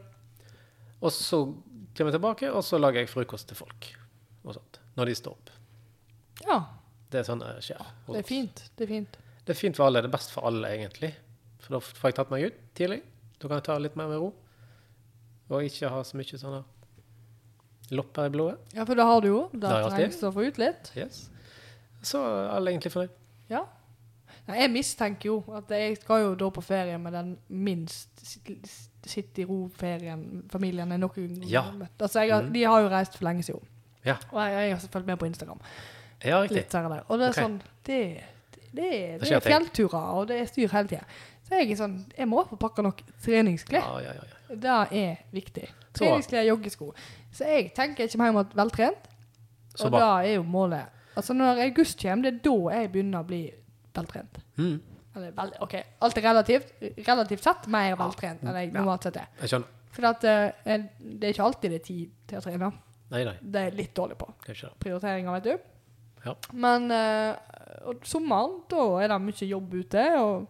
A: Og så kommer jeg tilbake, og så lager jeg frokost til folk. Og sånt, når de står opp.
B: Ja,
A: Det er sånn det skjer. hos
B: det er
A: oss.
B: fint. Det er fint.
A: Det er fint for alle. Det er best for alle, egentlig. For da får jeg tatt meg ut tidlig. Da kan jeg ta litt mer med ro. Og ikke ha så mye sånne lopper i blodet.
B: Ja, for det har du jo. Da
A: Det har jeg alltid.
B: trengs det å få ut litt.
A: Yes. Så er alle egentlig fornøyd.
B: Ja. Nei, jeg mistenker jo at jeg skal jo da på ferie med den minst sit- sitt i ro-ferien familien jeg noen gang
A: Ja. Mm.
B: har møtt. Altså, jeg har, De har jo reist for lenge siden.
A: Ja.
B: Og jeg, jeg har fulgt med på Instagram.
A: Ja, riktig.
B: Litt her og der. Og det er
A: Ok.
B: sånn Det, det, det,
A: skjer
B: er fjellturer, og det er styr hele tida. Så jeg er sånn Jeg må få pakka nok treningsklær.
A: Ja, ja, ja, ja.
B: Det er viktig.
A: Så.
B: Treningsklær, joggesko. Så jeg tenker ikke mer om at veltrent.
A: Så
B: og
A: bra.
B: det er jo målet. Altså Når august kommer, det er da jeg begynner å bli veltrent.
A: Mm.
B: Eller vel, OK, alt er relativt. Relativt sett mer veltrent enn jeg
A: Ja.
B: normalt sett er.
A: Jeg skjønner.
B: For at, eh, det er ikke alltid det er tid til å trene.
A: Nei, nei.
B: Det er jeg litt dårlig på.
A: Kanskje det.
B: Prioriteringer, vet du.
A: Ja.
B: Men eh, og sommeren, da er det mye jobb ute. Og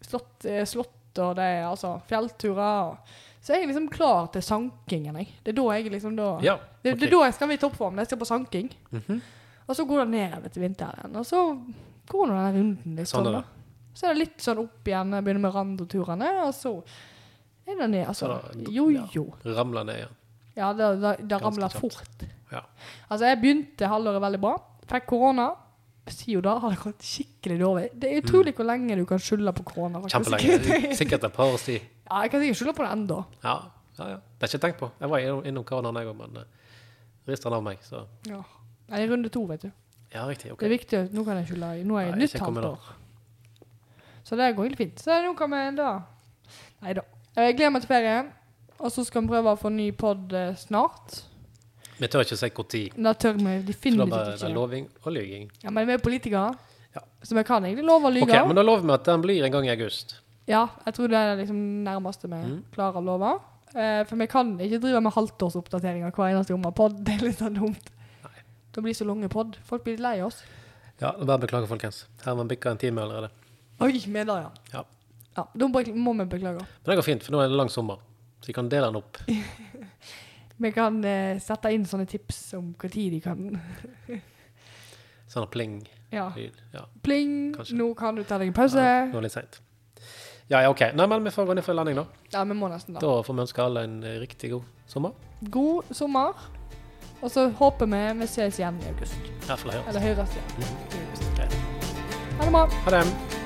B: slott, eh, slott og det er altså fjellturer. Og, så jeg er liksom klar til sankingen, jeg. Det er da jeg liksom da
A: Ja.
B: det,
A: ok.
B: det er da jeg skal være i toppform. Jeg skal på sanking.
A: Mhm.
B: Og så går det nedover til vinteren. Og så går nå den runden litt.
A: Sånn
B: Sånn,
A: er
B: da. Så er det litt sånn opp igjen. Jeg begynner med randoturene, og så er det ned. Altså,
A: Så da- ja.
B: jojo.
A: Ramler ned igjen.
B: Ja, det, det, det
A: Ganske
B: ramler
A: kjapt.
B: fort.
A: Ja.
B: Altså, jeg begynte halvåret veldig bra. Fikk korona. Sier jo da, har det gått skikkelig dårlig. Det er utrolig hvor lenge du kan skylde på korona. faktisk.
A: Mm. Kjempelenge. Sikkert et par års tid.
B: [LAUGHS] ja, jeg kan sikkert skylde på det ennå.
A: Ja. ja, ja. Det har jeg ikke tenkt på. Jeg var innom, innom koronaen, jeg òg, men uh, rister den av meg, så
B: Ja. Nei, det er runde to, vet du.
A: Ja, riktig. OK.
B: Det er viktig. Nå kan jeg skylde. Nå er jeg
A: Nei,
B: nytt
A: ikke kom
B: halvt
A: med
B: år. Så det går helt fint. Så nå kan vi da Nei da. Jeg gleder meg til ferien. Og så skal vi prøve å få ny pod eh, snart.
A: Vi tør ikke si når.
B: Da tør vi
A: Da
B: definitivt
A: bare det
B: ikke.
A: er loving og lyging.
B: Ja, men vi er politikere,
A: Ja.
B: så vi kan egentlig love å lyve.
A: Ok, men da lover vi at den blir en gang i august.
B: Ja, jeg tror det er liksom nærmeste vi
A: Mm.
B: klarer å love. Eh, for vi kan ikke drive med halvtårsoppdateringer hver eneste gang vi har pod. [LAUGHS] Det er litt sånn dumt. Det blir så lange pod. Folk blir litt lei oss.
A: Ja, da bare beklager, folkens. Her har man bikka en time allerede.
B: Oi, vi er der, ja.
A: Ja.
B: Ja, Da må må vi beklage.
A: Men det går fint, for nå er det en lang sommer. Så vi kan dele den opp.
B: Vi kan eh, sette inn sånne tips om når de kan
A: Sånn pling-lyd.
B: Ja.
A: Ja.
B: Pling,
A: Kanskje.
B: nå kan du ta deg en pause.
A: Ja, nå er det litt seint. Ja, ja, OK. Nei, men vi får gå ned for landing, da.
B: Ja, vi må nesten da.
A: Da får vi ønske alle en eh, riktig god sommer.
B: God sommer. Og så håper vi vi ses igjen i august.
A: Iallfall høres.
B: Eller høres igjen.
A: Greit.
B: Ha det bra.
A: Ha det.